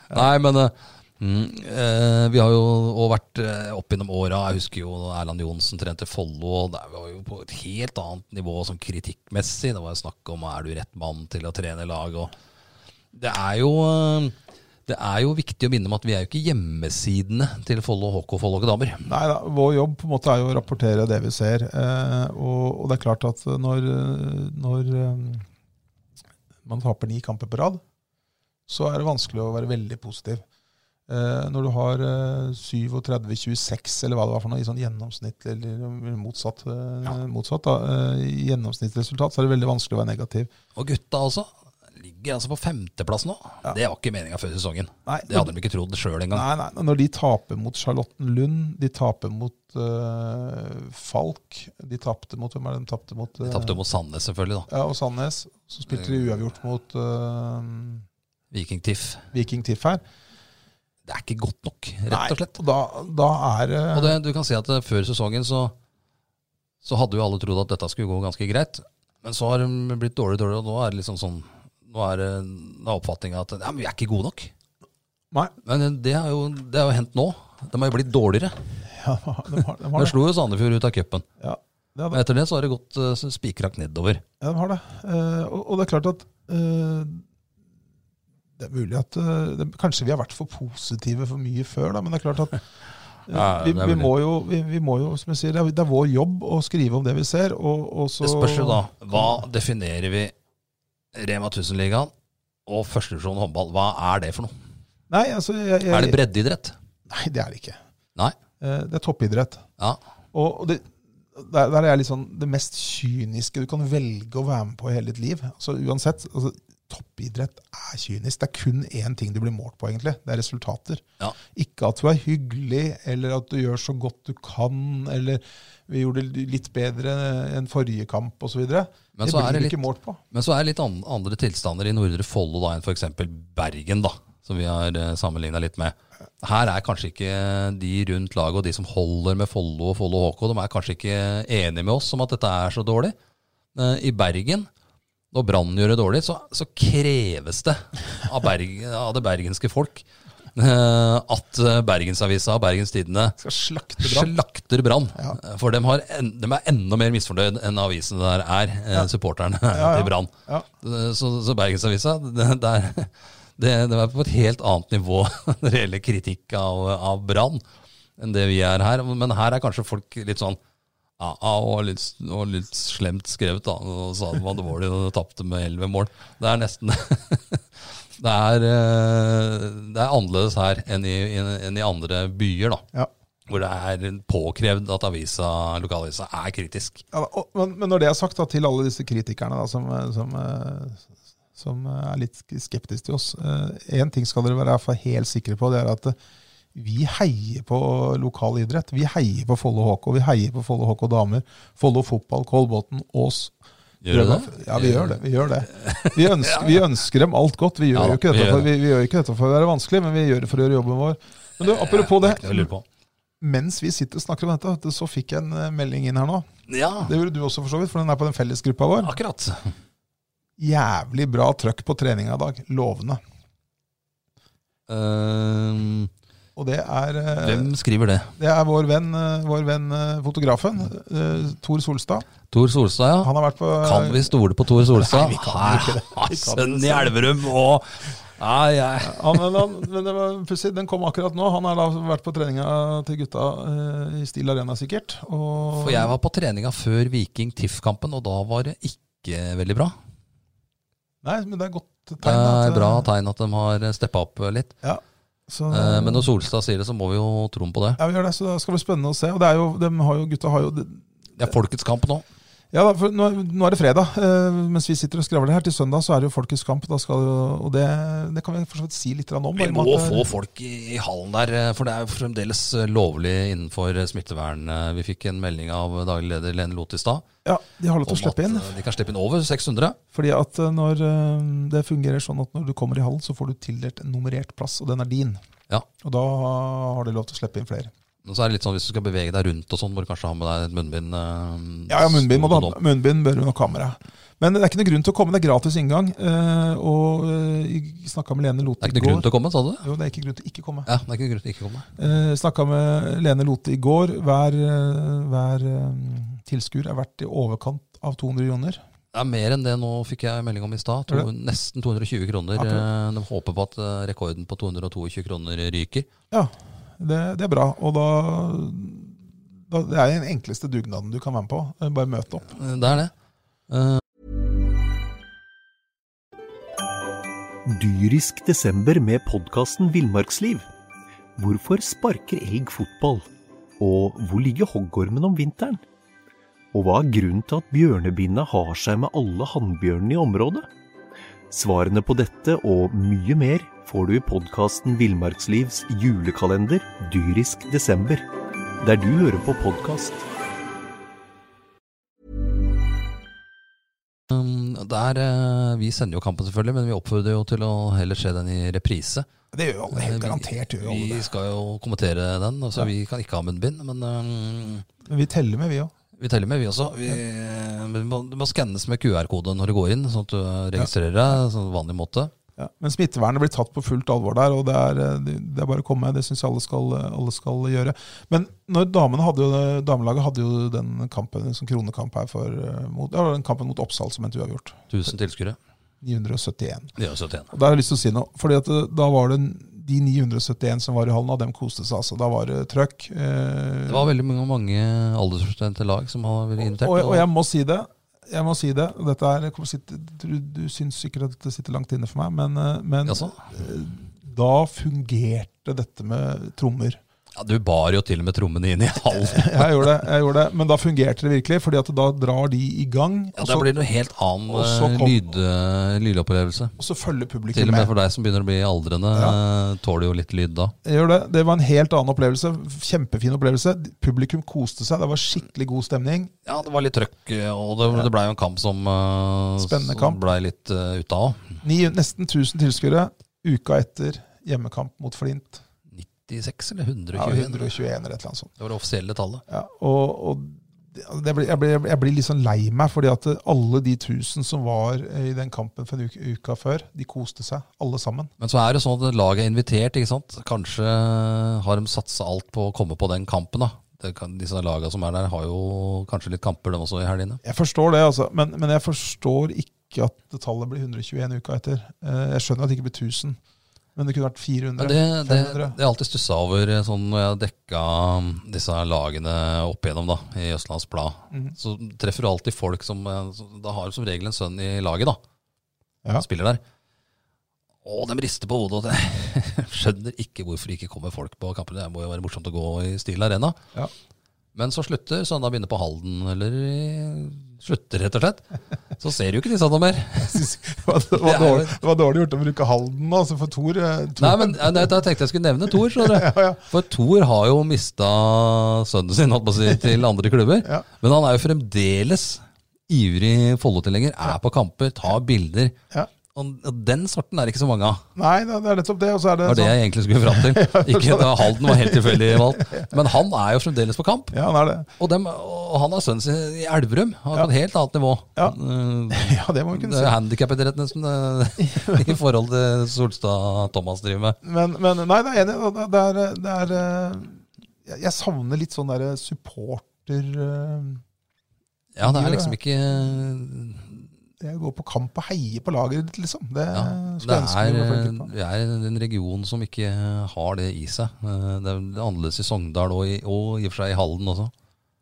Nei, men eh, mm, eh, vi har jo også vært eh, opp gjennom åra. Jeg husker jo da Erland Johnsen trente Follo. og Det var jo på et helt annet nivå sånn kritikkmessig. Det var jo snakk om er du rett mann til å trene lag. og det er jo eh, det er jo viktig å minne om at vi er jo ikke hjemmesidene til Follo HK og Follo HK damer. Nei da, vår jobb på en måte er jo å rapportere det vi ser. Eh, og, og det er klart at når, eh, når eh, man taper ni kamper på rad, så er det vanskelig å være veldig positiv. Eh, når du har eh, 37-26, eller hva det var for noe, i sånn gjennomsnitt, eller, eller motsatt, eh, motsatt da, eh, i gjennomsnittsresultat, så er det veldig vanskelig å være negativ. Og gutta også ligger altså på femteplass nå. Ja. Det var ikke meninga før sesongen. Nei, Det hadde de ikke trodd sjøl engang. Nei, nei, når de taper mot Charlottenlund, de taper mot eh, Falk De tapte mot Hvem er det de tapte mot? De eh, tapte jo mot Sandnes, selvfølgelig. da Ja, og Sandnes. Så spilte de uavgjort mot eh, Viking Tiff. Viking Tiff her. Det er ikke godt nok, rett og slett. Nei, og da, da er det Og det, du kan si at eh, før sesongen så, så hadde jo alle trodd at dette skulle gå ganske greit. Men så har de blitt dårligere og dårligere, og nå er det liksom sånn Nå er, det- nå er oppfatninga at ja, men vi er ikke gode nok. Nei, *laughs* Men eh, det har jo, det har jo hendt nå. De har jo blitt dårligere. ja, de har, de De har det. slo jo Sandefjord ut av cupen. Ja, det, Men etter det så har det gått eh, spikrakt nedover. Ja, de har det. Eh, og, og det er klart at eh, det er mulig at eh, det, Kanskje vi har vært for positive for mye før, da, men det er klart at eh, *laughs* Ja, vi, det er vi, mulig. må jo, vi, vi må jo, som jeg sier, det er, det er vår jobb å skrive om det vi ser. Og, og så, Det spørs jo da, hva definerer vi Rema 1000-ligaen og førstedivisjon håndball? Hva er det for noe? Nei, altså jeg, jeg, Er det breddeidrett? Nei, det er det ikke. Nei. Eh, det er toppidrett. Ja. Og og det, der, der er jeg litt sånn det mest kyniske du kan velge å være med på i hele ditt liv. Altså uansett, altså, Toppidrett er kynisk. Det er kun én ting du blir målt på, egentlig. Det er resultater. Ja. Ikke at du er hyggelig, eller at du gjør så godt du kan, eller vi gjorde det litt bedre enn forrige kamp osv. Det Men blir så er du det ikke målt på. Men så er det litt an andre tilstander i Nordre Follo da enn f.eks. Bergen, da, som vi har sammenligna litt med. Her er kanskje ikke de rundt laget og de som holder med Follo og Follo HK, de er kanskje ikke enige med oss om at dette er så dårlig. Eh, I Bergen, når Brann gjør det dårlig, så, så kreves det av, Berg, av det bergenske folk eh, at eh, Bergensavisa og Bergens Tidende Skal slakte Brann. slakter Brann. Ja. Eh, For de, har en, de er enda mer misfornøyd enn avisene der er, eh, supporterne Ja, ja. til Brann. Ja. Eh, Så, så Bergensavisa det, det, er, *laughs* det, det er på et helt annet nivå *laughs* når det gjelder kritikk av, av Brann enn det vi er her. Men her er kanskje folk litt sånn ja, ja, og litt, og litt slemt skrevet, da. Og sa det var dårlig og tapte med 11 mål. Det er nesten *laughs* Det er, eh, det er annerledes her enn i, enn i andre byer, da Ja. hvor det er påkrevd at avisa, lokalavisa er kritisk. Ja, da, og, men, men når det er sagt da, til alle disse kritikerne da, som, eh, som, eh, som eh, er litt sk- skeptiske til oss Én ting skal dere være i hvert fall helt sikre på, det er at eh, vi heier på lokal idrett. Vi heier på Follo HK, vi heier på Follo HK damer, Follo fotball, Kolbotn, Ås. Drømmen- Ja, vi gjør det. Vi gjør det. Vi *laughs* ønsker, vi ønsker dem alt godt. Vi gjør, Ja da, jo ikke vi dette gjør for, vi, vi gjør ikke dette for å være vanskelig, men vi gjør det for å gjøre jobben vår. Men du, apropos det, Jeg lurer på. mens vi sitter og snakker om dette, vet du, så fikk jeg en eh, melding inn her nå. Ja, Det gjorde du også, for så vidt, for den er på den fellesgruppa vår. akkurat. Jævlig bra trøkk på treninga i dag. Lovende. Ehm, Og det er, eh, hvem skriver det? det er vår venn, eh, vår venn eh, fotografen, eh, Tor Solstad. Tor Solstad, ja. Han har vært på Kan vi stole på Tor Solstad? Nei, vi *laughs* kan ikke det. Vi kan Her, ikke Sønnen det. i Elverum og Nei, jeg- *laughs* han, men, han, men det var pussig, den kom akkurat nå. Han har da vært på treninga til gutta eh, i Steel Arena, sikkert. Og, For jeg var på treninga før Viking TIFF-kampen, og da var det ikke veldig bra. Nei, men det er godt tegn. Det at, er eh, bra tegn at de har steppa opp eh, litt. Ja, så, Eh, Men når Solstad sier det, så må vi jo tro på det. ja, vi gjør det, så det skal bli spennende å se. Og det er jo, dem har jo, gutta har jo Det er folkets kamp nå. Ja, da, for nå, nå er det fredag. eh, mens vi sitter og skravler her, til søndag så er det jo Folkets kamp. Da skal det, jo- og det, det kan vi for så vidt si litt grann om. Vi om må at, eh, få folk i i hallen der, eh, for det er jo fremdeles eh, lovlig innenfor eh, smittevern. Eh, Vi fikk en melding av daglig leder Lene Loth i stad eh, Ja, De har om lov til å at slippe inn. eh, de kan slippe inn over 600. Fordi at eh, når eh, det fungerer sånn at når du kommer i hallen, så får du tildelt en nummerert plass, og den er din. Ja. Og da har de lov til å slippe inn flere. Men så er det litt sånn hvis du skal bevege deg rundt og sånn, må du kanskje ha med deg et munnbind. eh, Ja, ja munnbind, må du, stående ha- munnbind bør du nok ha med deg. Men det er ikke noe grunn til å komme, det er gratis inngang. eh, og uh, snakka med Lene Lote Det er ikke noe grunn til å komme, sa du? Jo, det er ikke grunn til ikke komme. Ja, det er ikke noe grunn til ikke å komme. Eh, Snakka med Lene Lote i går. Hver, eh, hver eh, tilskuer er verdt i overkant av 200 joner. Det er mer enn det nå fikk jeg melding om i stad. Er det? To- Nesten 220 kroner. Akkurat. Eh, De håper på at eh, rekorden på 222 kroner ryker. Ja, det, det er bra. Og da, da Det er den enkleste dugnaden du kan være med på. Eh, Bare møte opp. Eh, Det er det. Eh, Dyrisk desember med podkasten Villmarksliv. Hvorfor sparker elg fotball? Og hvor ligger hoggormen om vinteren? Og hva er grunnen til at bjørnebinna har seg med alle hannbjørnene i området? Svarene på dette og mye mer får du i podkasten Villmarkslivs julekalender Dyrisk desember, der du hører på podkast. Um, Der, eh, vi sender jo kampen selvfølgelig, men vi oppfordrer jo til å heller se den i reprise. Det gjør jo alle. Eh, Helt vi- garantert gjør jo alle Vi det. skal jo kommentere den, så vi kan ikke ha munnbind. Men um, Men vi teller med, vi òg. vi teller med, vi også. Vi, men du må, du må skannes med QR-kode når du går inn, sånn at du registrerer deg. Sånn vanlig måte. Ja. Men smittevernet blir tatt på fullt alvor der, og det er, eh, det er bare å komme. Det syns jeg alle skal, eh, alle skal gjøre. Men når damene hadde jo, eh, damelaget hadde jo den kampen, som kronekamp her for, eh, mot, ja, den kampen mot Oppsal som endte uavgjort. 1000 tilskuere. 971. Det gjør 71. Og der har jeg lyst til å si noe. Fordi at eh, da var det de 971 som var i hallen, og dem koste seg. altså. Da var det trøkk. eh, Det var veldig mange, mange aldersbestemte lag som har vært invitert. og, og jeg må si det. Jeg må si det. og Dette er, kommer sitt- du, du syns sikkert at det sitter langt inne for meg, men, eh, men Jaså? eh, da fungerte dette med trommer. *laughs* ja, du bar jo til og med trommene *laughs* inn i hallen. Jeg gjorde det, jeg gjorde det men da fungerte det virkelig, fordi at da drar de i gang, Ja, og Da så, blir det en helt annen og så eh, kom- lyd, eh, lydopplevelse. og så følger Til publikum og med med. for deg som begynner å bli aldrende, eh, tåler jo litt lyd da. Jeg gjør det. det var en helt annen opplevelse. Kjempefin opplevelse. Publikum koste seg. Det var skikkelig god stemning. Ja, det var litt trøkk, eh, og det, det blei jo en kamp som, eh, Spennende som kamp. blei litt uh, ute av. Ni, nesten 1000 tilskuere uka etter hjemmekamp mot Flint. 96 eller Ja, 121? 121 eller et eller annet sånt. Det var det offisielle tallet. Ja, og, og altså, det blir, jeg, blir, jeg blir litt sånn lei meg, fordi at alle de tusen som var eh, i den kampen for en uke, uka før, de koste seg, alle sammen. Men så er det sånn at laget er invitert, ikke sant. Kanskje har de satsa alt på å komme på den kampen, da. Det kan, disse lagene som er der, har jo kanskje litt kamper, de også, i helgene. Jeg forstår det, altså, men, men jeg forstår ikke at det tallet blir 121 uka etter. Eh, Jeg skjønner at det ikke blir 1000, men det kunne vært 400. Men det, det, *laughs* 500. det er alltid stussa over eh, sånn når jeg har dekka mm, disse lagene opp igjennom da, i Østlands Blad. Mhm. Så treffer du alltid folk som eh, som- Da har du som regel en sønn i laget, da. Ja. Som Spiller der. Å, de rister på hodet. og det- *laughs* Skjønner ikke hvorfor det ikke kommer folk på kampene. Det må jo være morsomt å gå i Steel Arena. Ja. Men så slutter Søndag begynner på Halden, eller i- slutter, rett og slett. Så ser du jo ikke disse *laughs* noe mer. Det var, det, var dårlig, det var dårlig gjort å bruke Halden, altså, for Thor eh, Thor- Nei, men eh, nei, Jeg tenkte jeg skulle nevne Thor. *laughs* skjønner du. Ja, ja. For Thor har jo mista sønnen sin holdt på å si, til andre klubber. Ja. Men han er jo fremdeles ivrig Follo-tilhenger. Er på kamper, tar bilder. Ja. Og og den sorten er det ikke så mange av. Nei, det det er nettopp det. Og så er det Det var det sånn jeg egentlig skulle fram *laughs* til. Ikke da Halden var helt tilfeldig valgt. Men han er jo fremdeles på kamp. Ja, han er det. Og, dem, og han har sønnen sin i Elverum. Han er på et helt annet nivå. Ja. Eh, *laughs* Ja, det må vi kunne Det si. er handikapidrett nesten eh, *laughs* i forhold til Solstad-Thomas driver med. Men, men nei, det er enig. og Det det er, det er eh, jeg- Jeg savner litt sånn derre supporter eh, Ja, det Gjør er det. liksom ikke Det å gå på kamp og heie på laget ditt, liksom. Det ja, skulle det, jeg er, ønske vi var eh, flinkere på. det er en region som ikke har det i seg. Eh, Det er det er annerledes i Sogndal og i, og i og for seg i Halden også,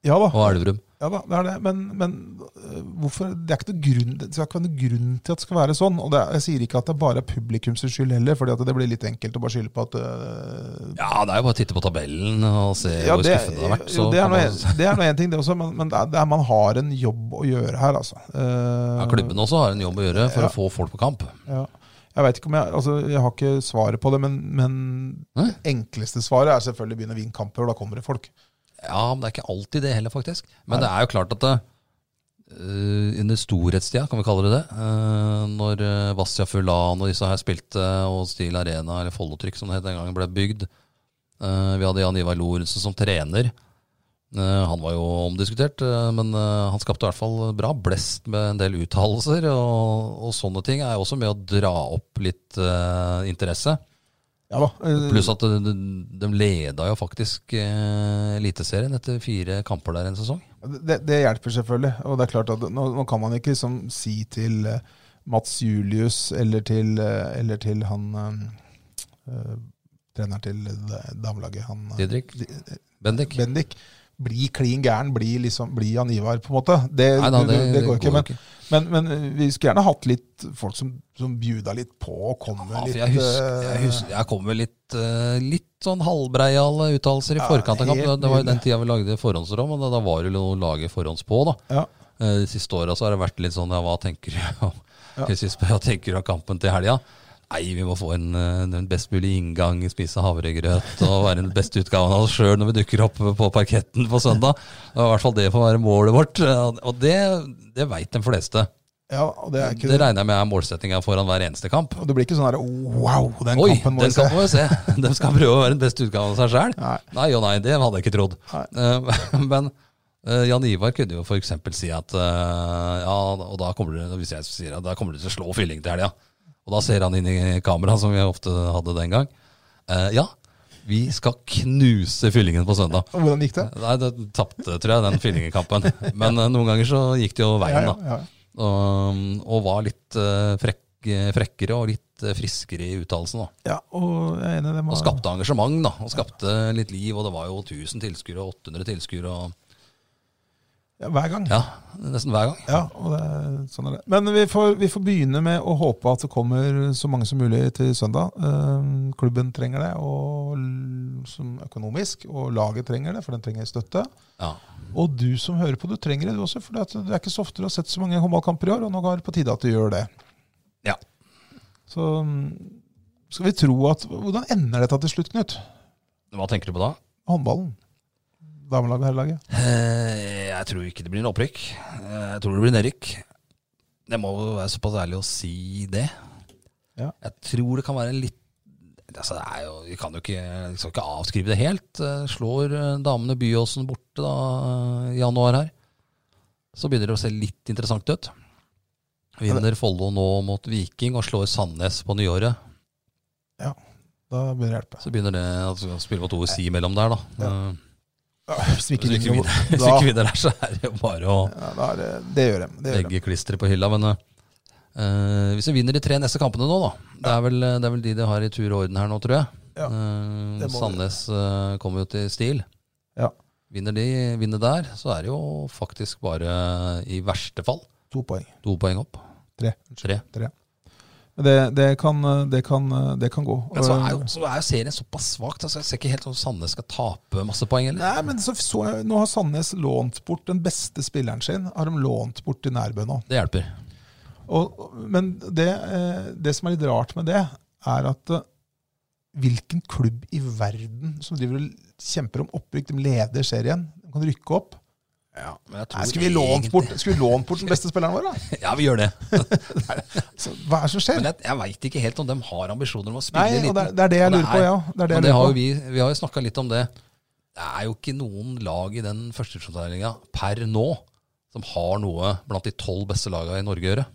Ja da, og Elverum. ja da, det er det. Men, men øh, hvorfor Det er ikke noe grunn, det skal ikke være noen grunn til at det skal være sånn. Og det, er- jeg sier ikke at det bare er publikums skyld heller, fordi at det blir litt enkelt å bare skylde på at øh, Ja, det er jo bare å titte på tabellen og se ja, hvor det, skuffende det har vært. jo, så det er kan nå man- en- det er nå én ting, det også, men, men det er, det er, man har en jobb å gjøre her, altså. Eh, ja, klubben også har en jobb å gjøre for Ja. å få folk på kamp. Ja. Jeg vet ikke om jeg, altså, jeg har ikke svaret på det, men, men Nei? det enkleste svaret er selvfølgelig å begynne å vinne kamper, og da kommer det folk. Ja, men det er ikke alltid det heller, faktisk. Men det er jo klart at det, eh, under storhetstida, kan vi kalle det det, eh, når uh, Vassia Fulan og disse her spilte, eh, og Stil Arena, eller Follotrykk som det het den gangen, ble bygd eh, Vi hadde Jan Ivar Lorentzen som trener. Eh, han var jo omdiskutert, eh, men eh, han skapte i hvert fall bra blest med en del uttalelser. Og, og sånne ting er jo også med å dra opp litt eh, interesse. Ja da. eh, Pluss at de, de leda jo faktisk eh, Eliteserien etter fire kamper der en sesong. Eh, Det, det hjelper selvfølgelig. Og det er klart at nå, nå kan man ikke liksom si til eh, Mats Julius eller til, eh, eller til han eh, eh, treneren til det damelaget, han eh, Didrik Di- Bendik. Bendik. Bli klin gæren, bli, liksom, bli Jan Ivar, på en måte. Det, Nei da, det, det- det det går går ikke. Men, ikke. men, men vi skulle gjerne hatt litt folk som, som bjuda litt på og kommer Ja, Ah, for litt jeg, husker, eh, jeg, husker, jeg kom med litt, eh, litt sånn halvbreiale uttalelser i Ja, forkant av kampen. helt Det var jo nydelig. den tida vi lagde forhåndsrom, og da, da var det jo noe å lage forhåndspå. da. ja. Eh, De siste åra har det vært litt sånn ja, hva tenker du om Ja. Jeg synes, hva tenker du om kampen til helga? Nei, vi må få en, eh, den best mulig inngang, spise havregrøt og være den beste utgaven av oss sjøl når vi dukker opp på parketten på søndag. Det var i hvert fall det får være målet vårt, eh, og det, det veit de fleste. ja, og det er ikke Det regner jeg med er målsettinga foran hver eneste kamp. Og det blir ikke sånn her oh, Wow, den Oi, kampen må den vi se. kampen må vi se! *laughs* De skal prøve å være den beste utgaven av seg sjøl. Nei. Nei og nei, det hadde jeg ikke trodd. Nei. Eh, *laughs* Men eh, Jan Ivar kunne jo f.eks. si at eh, ja, og da kommer du, hvis jeg sier at da kommer du til å slå fylling til helga. Og da ser han inn i kamera, som vi ofte hadde den gang. Eh, Ja, vi skal knuse fyllingen på søndag. Og Hvordan gikk det? Nei, det tapte, tror jeg, den fyllingekampen. Men eh, noen ganger så gikk det jo veien, da. ja, ja. Og, og var litt eh, frekk, frekkere og litt eh, friskere i uttalelsen, da. Ja, og jeg er enig i det. må- Og skapte engasjement, da. Og skapte litt liv. Og det var jo 1000 tilskuere og 800 tilskuere og Ja, hver gang. Ja. Ja, nesten hver gang. og det, er- sånn er det. Men vi får, vi får begynne med å håpe at det kommer så mange som mulig til søndag. Eh, Klubben trenger det og l- som økonomisk, og laget trenger det, for den trenger støtte. Ja. Og du som hører på, du trenger det du også, for det at det er ikke så ofte du har sett så mange håndballkamper i år, og nå er det på tide at du gjør det. ja. Så mm, skal vi tro at Hvordan ender dette til slutt, Knut? Hva tenker du på da? Håndballen? Damelaget og herrelaget? Eh, Jeg tror ikke det blir en opprykk. Eh, Jeg tror det blir nedrykk. Jeg må jo være såpass ærlig å si det. Ja. Jeg tror det kan være litt altså, det er jo, Vi kan jo ikke, vi skal ikke avskrive det helt. Eh, Slår eh, damene Byåsen borte da eh, i januar her. så begynner det å se litt interessant ut. Vinner Follo nå mot Viking og slår Sandnes på nyåret. Da bør det hjelpe. Så begynner det å spille mot OSI mellom der, da. Ja. Eh, Ja, Hvis Hvis du ikke ikke *laughs* vinner vinner, hvis du ikke vinner der, så er det jo bare å ja, da er det, det gjør de. Det gjør de. legge klisteret på hylla. Men eh, hvis vi vinner de tre neste kampene nå, da Det er vel, det er vel de de har i tur og orden her nå, tror jeg. Ja, Eh, det må vi. Sandnes eh, kommer jo til stil. Ja. Vinner de vinner der, så er det jo faktisk bare eh, i verste fall To poeng. to poeng opp. Tre. Tre. Men det, det, kan, det, kan, det kan gå. Men så er jo, så er jo serien såpass svak, så jeg ser ikke helt om Sandnes skal tape masse poeng. Eller? Nei, men så, så jeg, Nå har Sandnes lånt bort den beste spilleren sin. Har de lånt bort til Nærbø nå. Det hjelper. Og, men det, eh, det som er litt rart med det, er at eh, hvilken klubb i verden som driver og kjemper om opprykk, de leder serien, de kan rykke opp Nei, skulle, vi lånt bort, skulle vi lånt bort den beste spilleren vår, da? *laughs* Ja, vi gjør det. Så, hva er det som skjer? Men jeg, jeg veit ikke helt om de har ambisjoner om å Nei, spille og eliten. det, er- det er det jeg Og det lurer på, er- ja. Det er det Men jeg det har lurer jo på. vi, vi har jo snakka litt om det. Det er jo ikke noen lag i den førstedivisjonsavdelinga per nå som har noe blant de tolv beste laga i Norge å gjøre.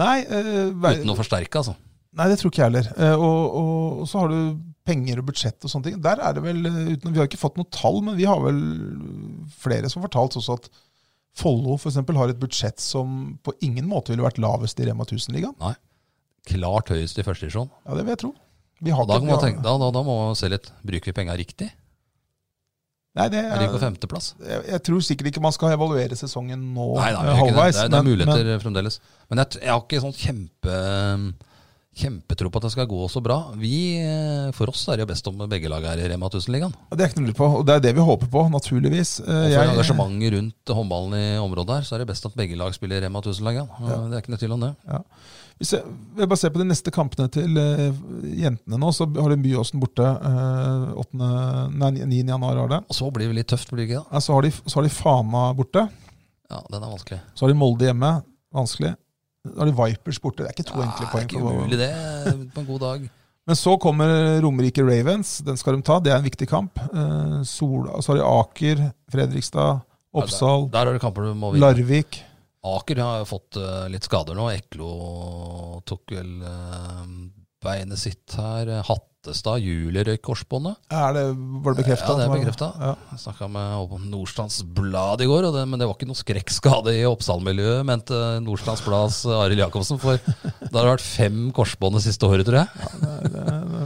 Nei, eh, ver- Uten å forsterke, altså. Nei, det tror ikke jeg heller. Eh, Og, og, og så har du penger og budsjett og sånne ting. Der er det vel, eh, uten, Vi har ikke fått noe tall, men vi har vel flere som har fortalt også at Follo for eksempel har et budsjett som på ingen måte ville vært lavest i Rema 1000-ligaen. Klart høyest i førstedivisjon. Ja, det vil jeg tro. Vi har Da, kan ikke- man vi har- tenke- da, da, da må man se litt. Bruker vi penga riktig? Nei, det Er de på er, femteplass? jeg, jeg tror sikkert ikke man skal evaluere sesongen nå Nei, da, eh, vi gjør ikke det. halvveis. det er, det er men- muligheter men- fremdeles. Men jeg, t- jeg har ikke sånn kjempe kjempetro på at det skal gå så bra. Vi, eh, for oss er det jo best om begge lag er i Rema 1000-ligaen. Ja, det er ikke noe å lure på, og det er det vi håper på, naturligvis. Og Eh, for jeg- engasjementet rundt håndballen i området her, så er det best at begge lag spiller Rema 1000-ligaen. Eh, Det er ikke noe tvil om det. Hvis jeg, vil jeg bare se på de neste kampene til eh, jentene nå, så har de Byåsen borte. eh, åttende- nei, 9. januar har det. Og så blir det litt tøft, blir det ikke det? Ja, så, har de, så har de Fana borte. Ja, den er vanskelig. Så har de Molde hjemme. Vanskelig. Så har de Vipers borte. Det er ikke to enkle Ja, Ah, Det poeng. er for- ikke umulig, det, på en god dag. Men så kommer Romerike Ravens. Den skal de ta. Det er en viktig kamp. Eh, Sola, så har de Aker, Fredrikstad, *laughs* Oppsal, Der har du kamper du må vinne. Larvik. Aker har fått eh, litt skader nå. Eklo tok vel eh, beinet sitt her. Hattestad, Julie røyk korsbåndet. Er det, var det bekrefta? Ja, det er bekreftet. Ja. Jeg snakka med Håkon Nordstrands Blad i går, og det, men det var ikke noe skrekkskade i Oppsal-miljøet, mente Nordstrands Blads Arild Jacobsen. For det har vært fem korsbånd det siste året, tror jeg.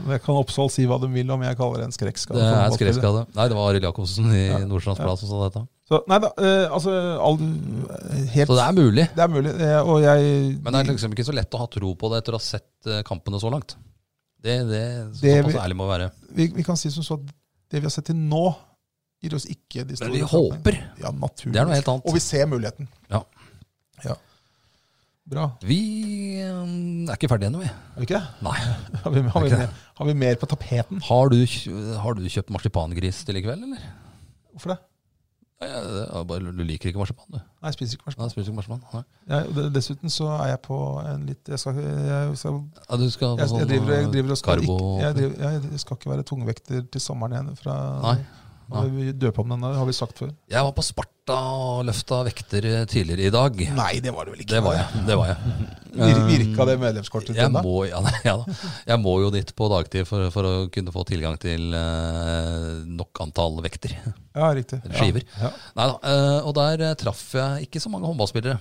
Det kan Oppsal si hva de vil om jeg kaller det en skrekkskade. Det for er håndballspillere. skrekkskade. Nei, det var Arild Jacobsen i Nordstrands Blad som sa dette. Så, nei da, eh, altså all, eh, helt, Så det er mulig. det er mulig. eh, og jeg Men det er liksom ikke så lett å ha tro på det etter å ha sett eh, kampene så langt. Det, det, Det Såpass vi- ærlig må vi være. vi, vi kan si som så at det vi har sett til nå, gir oss ikke de store Men vi forhåpningene. håper. Ja, naturligvis. Det er noe helt Og vi annet. ser muligheten. Ja. Ja. Bra. Vi eh, er ikke ferdige ennå, vi. Er vi ikke det? *laughs* Nei. Har vi, har, vi ikke det. mer, har vi mer på tapeten? Har du, kj- har du kjøpt marsipangris til i kveld, eller? Hvorfor det? Nei, det er bare- Du liker ikke marsipan, du. Nei, jeg spiser ikke marsipan. Nei, spiser ikke marsipan. Nei. Jeg- og det- Dessuten så er jeg på en litt Jeg skal, jeg skal, Ja, du skal på jeg, jeg sånn, driver, jeg driver og skal karbo... ikke, jeg, driver, jeg, jeg skal ikke være tungvekter til sommeren igjen. Fra, Nei. Har vi døpe om den, har vi sagt før. Jeg var på Sparta og løfta vekter eh, tidligere i dag. Nei, det var det vel Det var jeg. det *laughs* var jeg. Vir- Virka det medlemskortet ditt Jeg ennå? må, ja, nei, ja, da. jeg må jo dit på dagtid for, for å kunne få tilgang til eh, nok antall vekter. Ja, riktig. Eller skiver. Ja. Ja. Nei da. eh, og der eh, traff jeg ikke så mange håndballspillere.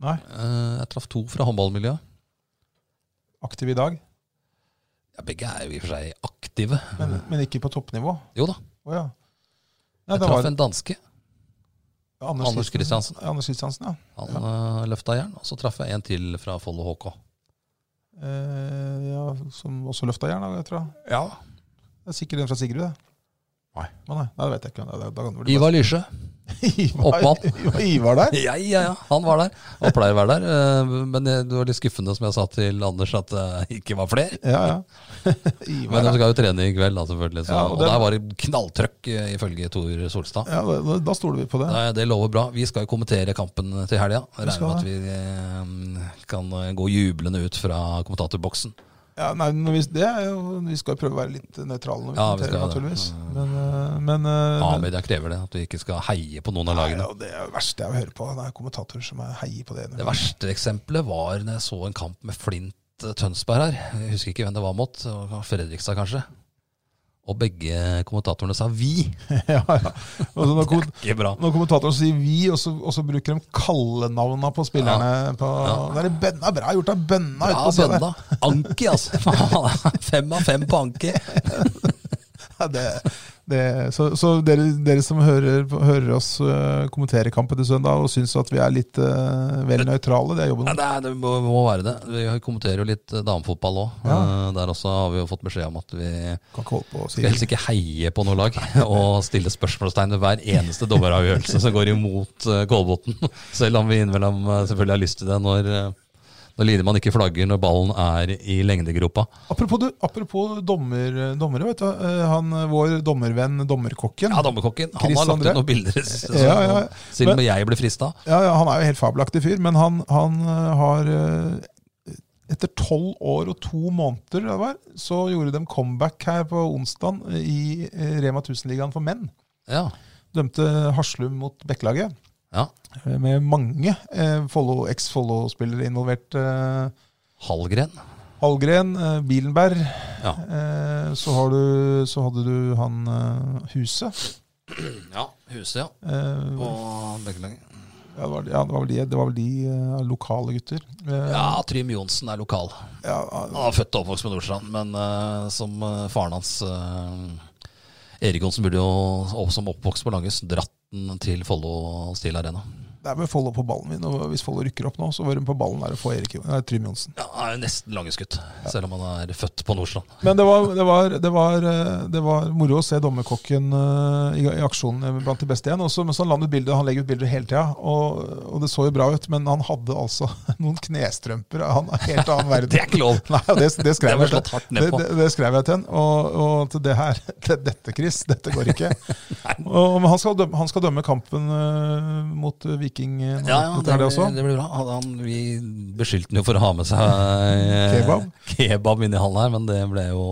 Nei, Eh, jeg traff to fra håndballmiljøet. aktiv i dag, Ja, begge er jo i og for seg aktive. men, men ikke på toppnivå. Jo da. Å ja. Nei, Jeg det traff var en danske. Anders Christiansen. Anders Christiansen, ja. Han eh, løfta jern. Og så traff jeg en til fra Follo HK. Eh, ja. Som også løfta jern, da, jeg tror jeg. Ja. Det er sikkert en fra Sigrud, det. Nei. Å, nei. nei, det vet jeg ikke. Nei, det- da kan det bli Ivar Lysjø. Oppmann. *laughs* Ivar, Ivar der? *laughs* Ja, ja, ja. Han var der. Og pleier å være der. eh, Men det det var litt skuffende, som jeg sa til Anders, at det ikke var flere. Ja, *laughs* ja. Men altså- Ivar de der. skal jo trene i kveld, da, selvfølgelig. Så, Ja, og og, det- der var det knalltrøkk, eh, ifølge Tor Solstad. Ja, da, da stoler vi på det. Nei, Det lover bra. Vi skal jo kommentere kampen til helga. Regner skal med at vi eh, kan eh, gå jublende ut fra kommentatorboksen. Ja, nei, men hvis det er jo, vi skal jo prøve å være litt nøytrale når vi Ja, vi skal det. kommenterer, naturligvis. Men, eh, Men eh, A-media krever det, at du ikke skal heie på noen av nei, lagene. og det er det verste jeg hører på. Det er kommentatorer som er heier på det. Det verste eksempelet var når jeg så en kamp med Flint eh, Tønsberg her. Jeg husker ikke hvem det var mot. det var Fredrikstad, kanskje. Og begge kommentatorene sa 'vi'. *laughs* ja, ja. Og så når, kom, *laughs* Ikke bra. når kommentatoren sier 'vi', og så, og så bruker de kallenavna på spillerne på, Det er bønna bra gjort av bønna ute Ja, på scenen. bønna. Anki, altså. *laughs* Faen, Fem av fem på Anki. *laughs* Ja, det, det, så så dere, dere som hører, hører oss øh, kommentere kampen til søndag og syns at vi er litt øh, vel nøytrale, det er jobben Ja, det, er, det må, må være det. Vi kommenterer jo litt eh, damefotball òg. Der også har vi jo fått beskjed om at vi Kan ikke holde på å si skal helst ikke heie på noe lag *laughs* og stille spørsmålstegn ved hver eneste dommeravgjørelse som går imot eh, Kolbotn. *laughs* Selv om vi innimellom eh, selvfølgelig har lyst til det når, eh, når Lidemann ikke flagger når ballen er i lengdegropa. Apropos, du, apropos dommer, dommere, vet du. øh, Han, vår dommervenn Dommerkokken. Ja, dommerkokken. Han Chris har lagt André. ut noen bilder så, Ja, ja, ja. siden jeg ble frista. Ja, ja, han er jo helt fabelaktig fyr, men han, han øh, har øh, Etter tolv år og to måneder det var, så gjorde de comeback her på onsdag i øh, Rema 1000-ligaen for menn. Ja. Dømte Haslum mot Bekkelaget. ja. eh, med mange eh, Follo- eks-Follo-spillere involvert. Eh, Hallgren. Hallgren, eh, Bilenberg. Ja. Eh, så, har du, så hadde du han eh, Huset. ja. Huset, ja. Eh, På Bekkelaget. ja, det, var, ja, det var vel de, det var vel de eh, lokale gutter. Eh, Ja, Trym Johnsen er lokal. ja, Han var født og oppvokst på Nordstrand, men eh, som eh, faren hans eh, Erik Johnsen burde jo, og som oppvokst på Langhus, dratt den til Follo Steel Arena. det er med Follo på ballen min, og hvis Follo rykker opp nå, så var de på ballen der og får Erik Jo- nei, Trym Johnsen. Ja, han er jo nesten Langhusgutt, selv om han er født på Nordstrand. Men det var, det, var, det, var, eh, det var moro å se dommerkokken eh, i, i aksjon eh, blant de beste igjen. Også, men så la han, ut bilder, han legger ut bilder hele tida, og, og det så jo bra ut. Men han hadde altså *laughs* noen knestrømper av en helt annen verden. *laughs* Det er ikke lov! Nei, og det, det, Det skrev var jeg til- slått hardt ned på. Det, det, det skrev jeg til han. Og, og til det her *laughs* til Dette, Chris, dette *laughs* går ikke. og, men han skal, dømme, han skal dømme kampen øh, mot øh, Viking. øh, nå, Ja, ja, dette det er blir, det også. det blir bra. Han, han, vi beskyldte han jo for å ha med seg eh, Kebab? kebab inn i hallen her, men det ble jo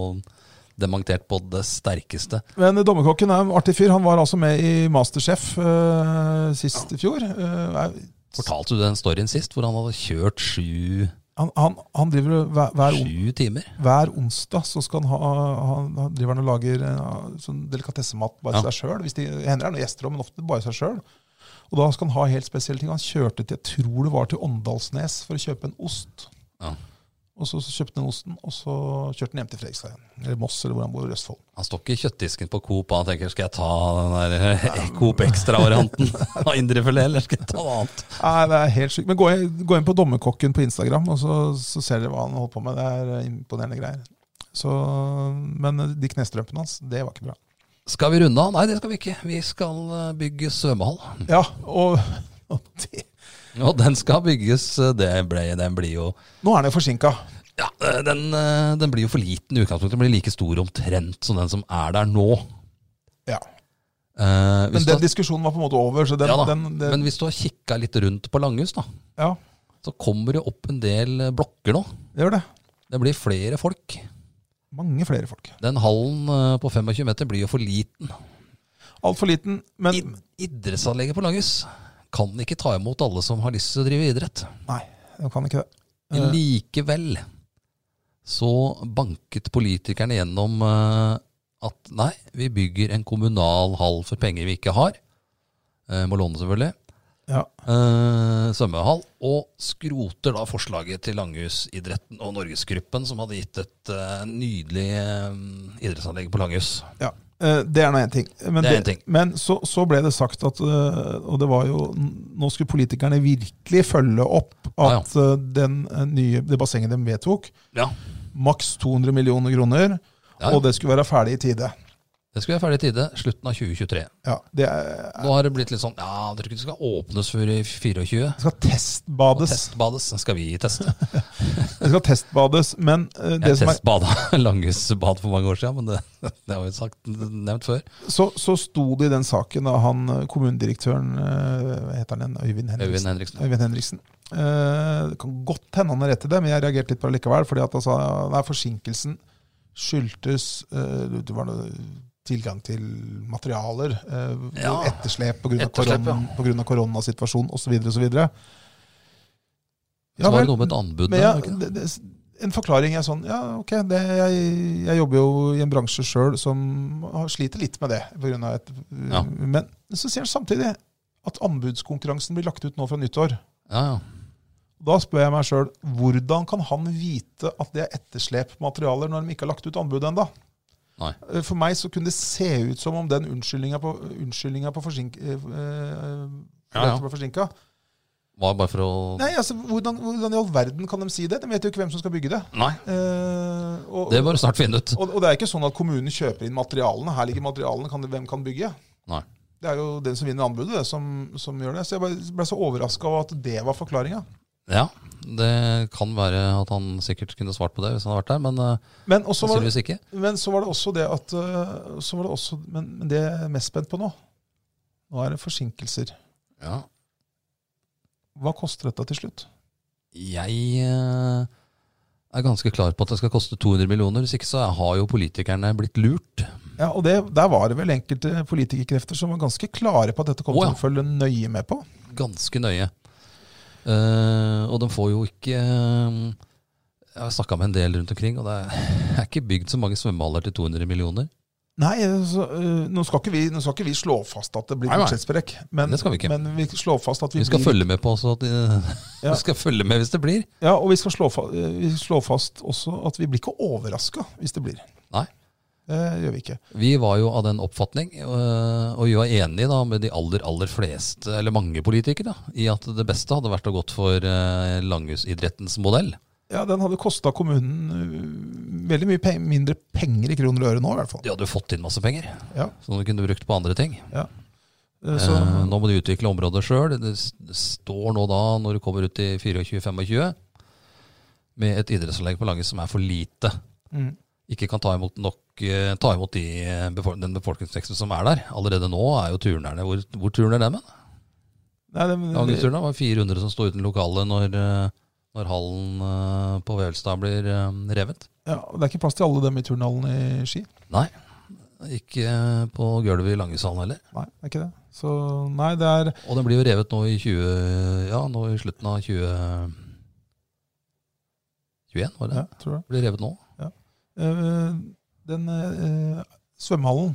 dementert på det sterkeste. Men øh, dommerkokken er en artig fyr. Han var altså med i Masterchef øh, sist i fjor. Øh, er, Fortalte du den storyen sist, hvor han hadde kjørt sju, han, han, han driver og hver, hver, on- sju timer? hver onsdag så skal han ha han, han driver han og lager eh, sånn delikatessemat bare til seg sjøl. Hvis de hender det er noen gjester òg, men ofte bare seg sjøl. Og da skal han ha helt spesielle ting. Han kjørte til jeg tror det var til Åndalsnes for å kjøpe en ost. Ja. Og så, så kjøpte han osten, og så kjørte han hjem til Fredrikstad igjen. Eller Moss, eller hvor han bor i Østfold. Han står ikke i kjøttdisken på Coop og han tenker skal jeg ta den der eh, Coop Extra-varianten av indrefilet, eller skal jeg ta noe annet? Nei, det er helt sykt. Men gå, inn- gå inn på Dommerkokken på Instagram, og så, så ser dere hva han holder på med. Det er eh, imponerende greier. Så, men eh, de knestrømpene hans, det var ikke bra. Skal vi runde av? Nei, det skal vi ikke. Vi skal eh, bygge svømmehall. Ja, og, *laughs* og det Og den skal bygges eh, det ble, Den blir jo Nå er den jo forsinka. ja, eh, den, eh, den blir jo for liten i utgangspunktet. Den blir like stor omtrent som den som er der nå. Ja. Eh, Men hvis du den har, diskusjonen var på en måte over. Så den, ja da, den, den, men hvis du har kikka litt rundt på Langhus, da, ja, så kommer det opp en del eh, blokker nå. det gjør det. Det blir flere folk. Mange flere folk. Den hallen eh, på 25 meter blir jo for liten. Altfor liten, men Id- Idrettsanlegget på Langhus kan ikke ta imot alle som har lyst til å drive idrett. Nei, den kan ikke det. Eh. Likevel så banket politikerne gjennom eh, at nei, vi bygger en kommunal hall for penger vi ikke har. Eh, Må låne, selvfølgelig. Ja. Eh, svømmehall. Og skroter da forslaget til Langhus-idretten og Norgesgruppen, som hadde gitt et eh, nydelig eh, idrettsanlegg på Langhus. ja. Eh, Det er nå én ting. Men, Det er en ting. men så, så ble det sagt at eh, Og det var jo Nå skulle politikerne virkelig følge opp Ja, at eh, den eh, nye, det bassenget de vedtok, Ja. maks 200 millioner kroner, Ja, ja. og det skulle være ferdig i tide. Det skulle være ferdig i tide. Slutten av 2023. Ja, det er, Nå har det blitt litt sånn Ja, dere ikke skal åpnes før i 24. det skal Og testbades. testbades skal vi teste. Det skal testbades, men eh, det Jeg som er testbada *laughs* Langhusbad for mange år siden, men det, *laughs* det har vi sagt, nevnt før. Så, så sto det i den saken da han eh, kommunedirektøren eh, hva heter han igjen? Øyvind Henriksen. Øyvind Henriksen. Øyvind Henriksen. Eh, det kan godt hende han har rett i det, men jeg reagerte litt på det likevel. fordi at han sa nei, forsinkelsen skyldtes eh, det var noe tilgang til materialer, eh, Ja. etterslep pga. Etterslep, Koron, på grunn av koronasituasjonen osv. osv. Så var det noe med et anbud Men der. ja, var det ikke det? det, det, en forklaring er sånn Ja, ok, det, jeg, jeg jobber jo i en bransje sjøl som har- sliter litt med det. På grunn av et, Ja. Men så sier han samtidig at anbudskonkurransen blir lagt ut nå fra nyttår. Ja, ja. Da spør jeg meg sjøl hvordan kan han vite at det er etterslep på materialer når de ikke har lagt ut anbud ennå? Nei. Eh, For meg så kunne det se ut som om den unnskyldninga på, unnskyldninga på forsink... eh, eh, Ja, ja. at det ble forsinket. Var det bare for å Nei, altså, hvordan, hvordan i all verden kan de si det? De vet jo ikke hvem som skal bygge det. Nei, Eh, og, det bare snart finne ut. og, og det er ikke sånn at kommunen kjøper inn materialene. Her ligger materialene, kan, hvem kan bygge? Nei. Det er jo den som vinner anbudet, det, som, som gjør det. Så jeg ble, ble så overraska over at det var forklaringa. Ja, det kan være at han sikkert kunne svart på det hvis han hadde vært der, men eh, Men, også var, sannsynligvis ikke. men så var det også det at øh, så var det også, men, men det jeg er mest spent på nå, nå er det forsinkelser. Ja. Hva koster dette til slutt? Jeg eh, er ganske klar på at det skal koste 200 millioner, hvis ikke så har jo politikerne blitt lurt. Ja, og det, Der var det vel enkelte politikerkrefter som var ganske klare på at dette kom Å, ja. til å følge nøye med på. Ganske nøye. Eh, og de får jo ikke eh, Jeg har snakka med en del rundt omkring, og det er *laughs* ikke bygd så mange svømmehaller til 200 millioner. Nei, så, øh, nå, skal ikke vi, nå skal ikke vi slå fast at det blir Nei, nei. budsjettsprekk, men, Det skal vi ikke. men vi slår fast at vi, Vi skal blir, følge med på også at de, *laughs* Ja. vi skal følge med hvis det blir. ja, og vi skal slå, fa øh, vi slår fast også at vi blir ikke overraska hvis det blir. Nei. Det gjør vi ikke. Vi var jo av den oppfatning, øh, og vi var enige da med de aller, aller fleste, eller mange politikere, da, i at det beste hadde vært å gått for øh, langhusidrettens modell. Ja, Den hadde kosta kommunen øh, veldig mye pe mindre penger i kroner og øre nå, i hvert fall. De hadde jo fått inn masse penger, Ja. som de kunne brukt på andre ting. Eh, Så, Eh, nå må de utvikle området sjøl. Det s- det står nå da, når du kommer ut i 24-25, med et idrettsanlegg på Lange som er for lite. mm. Ikke kan ta imot, nok, eh, ta imot de, eh, befol- den befolkningsveksten som er der. Allerede nå er jo turnerne Hvor, hvor turner dem? hen? Nei, det, Ja, gutter, da var det 400 som sto uten lokale når, eh, når hallen eh, på Vevelstad blir eh, revet. ja, det er ikke plass til alle dem i turnhallen i Ski. Nei, ikke eh, på gulvet i Langesalen heller. Nei, det er ikke det. Så nei, det er Og den blir jo revet nå i 20, ja, nå i slutten av 20... 21, var det? ja, tror jeg. Blir revet nå. Eh, Den eh, svømmehallen,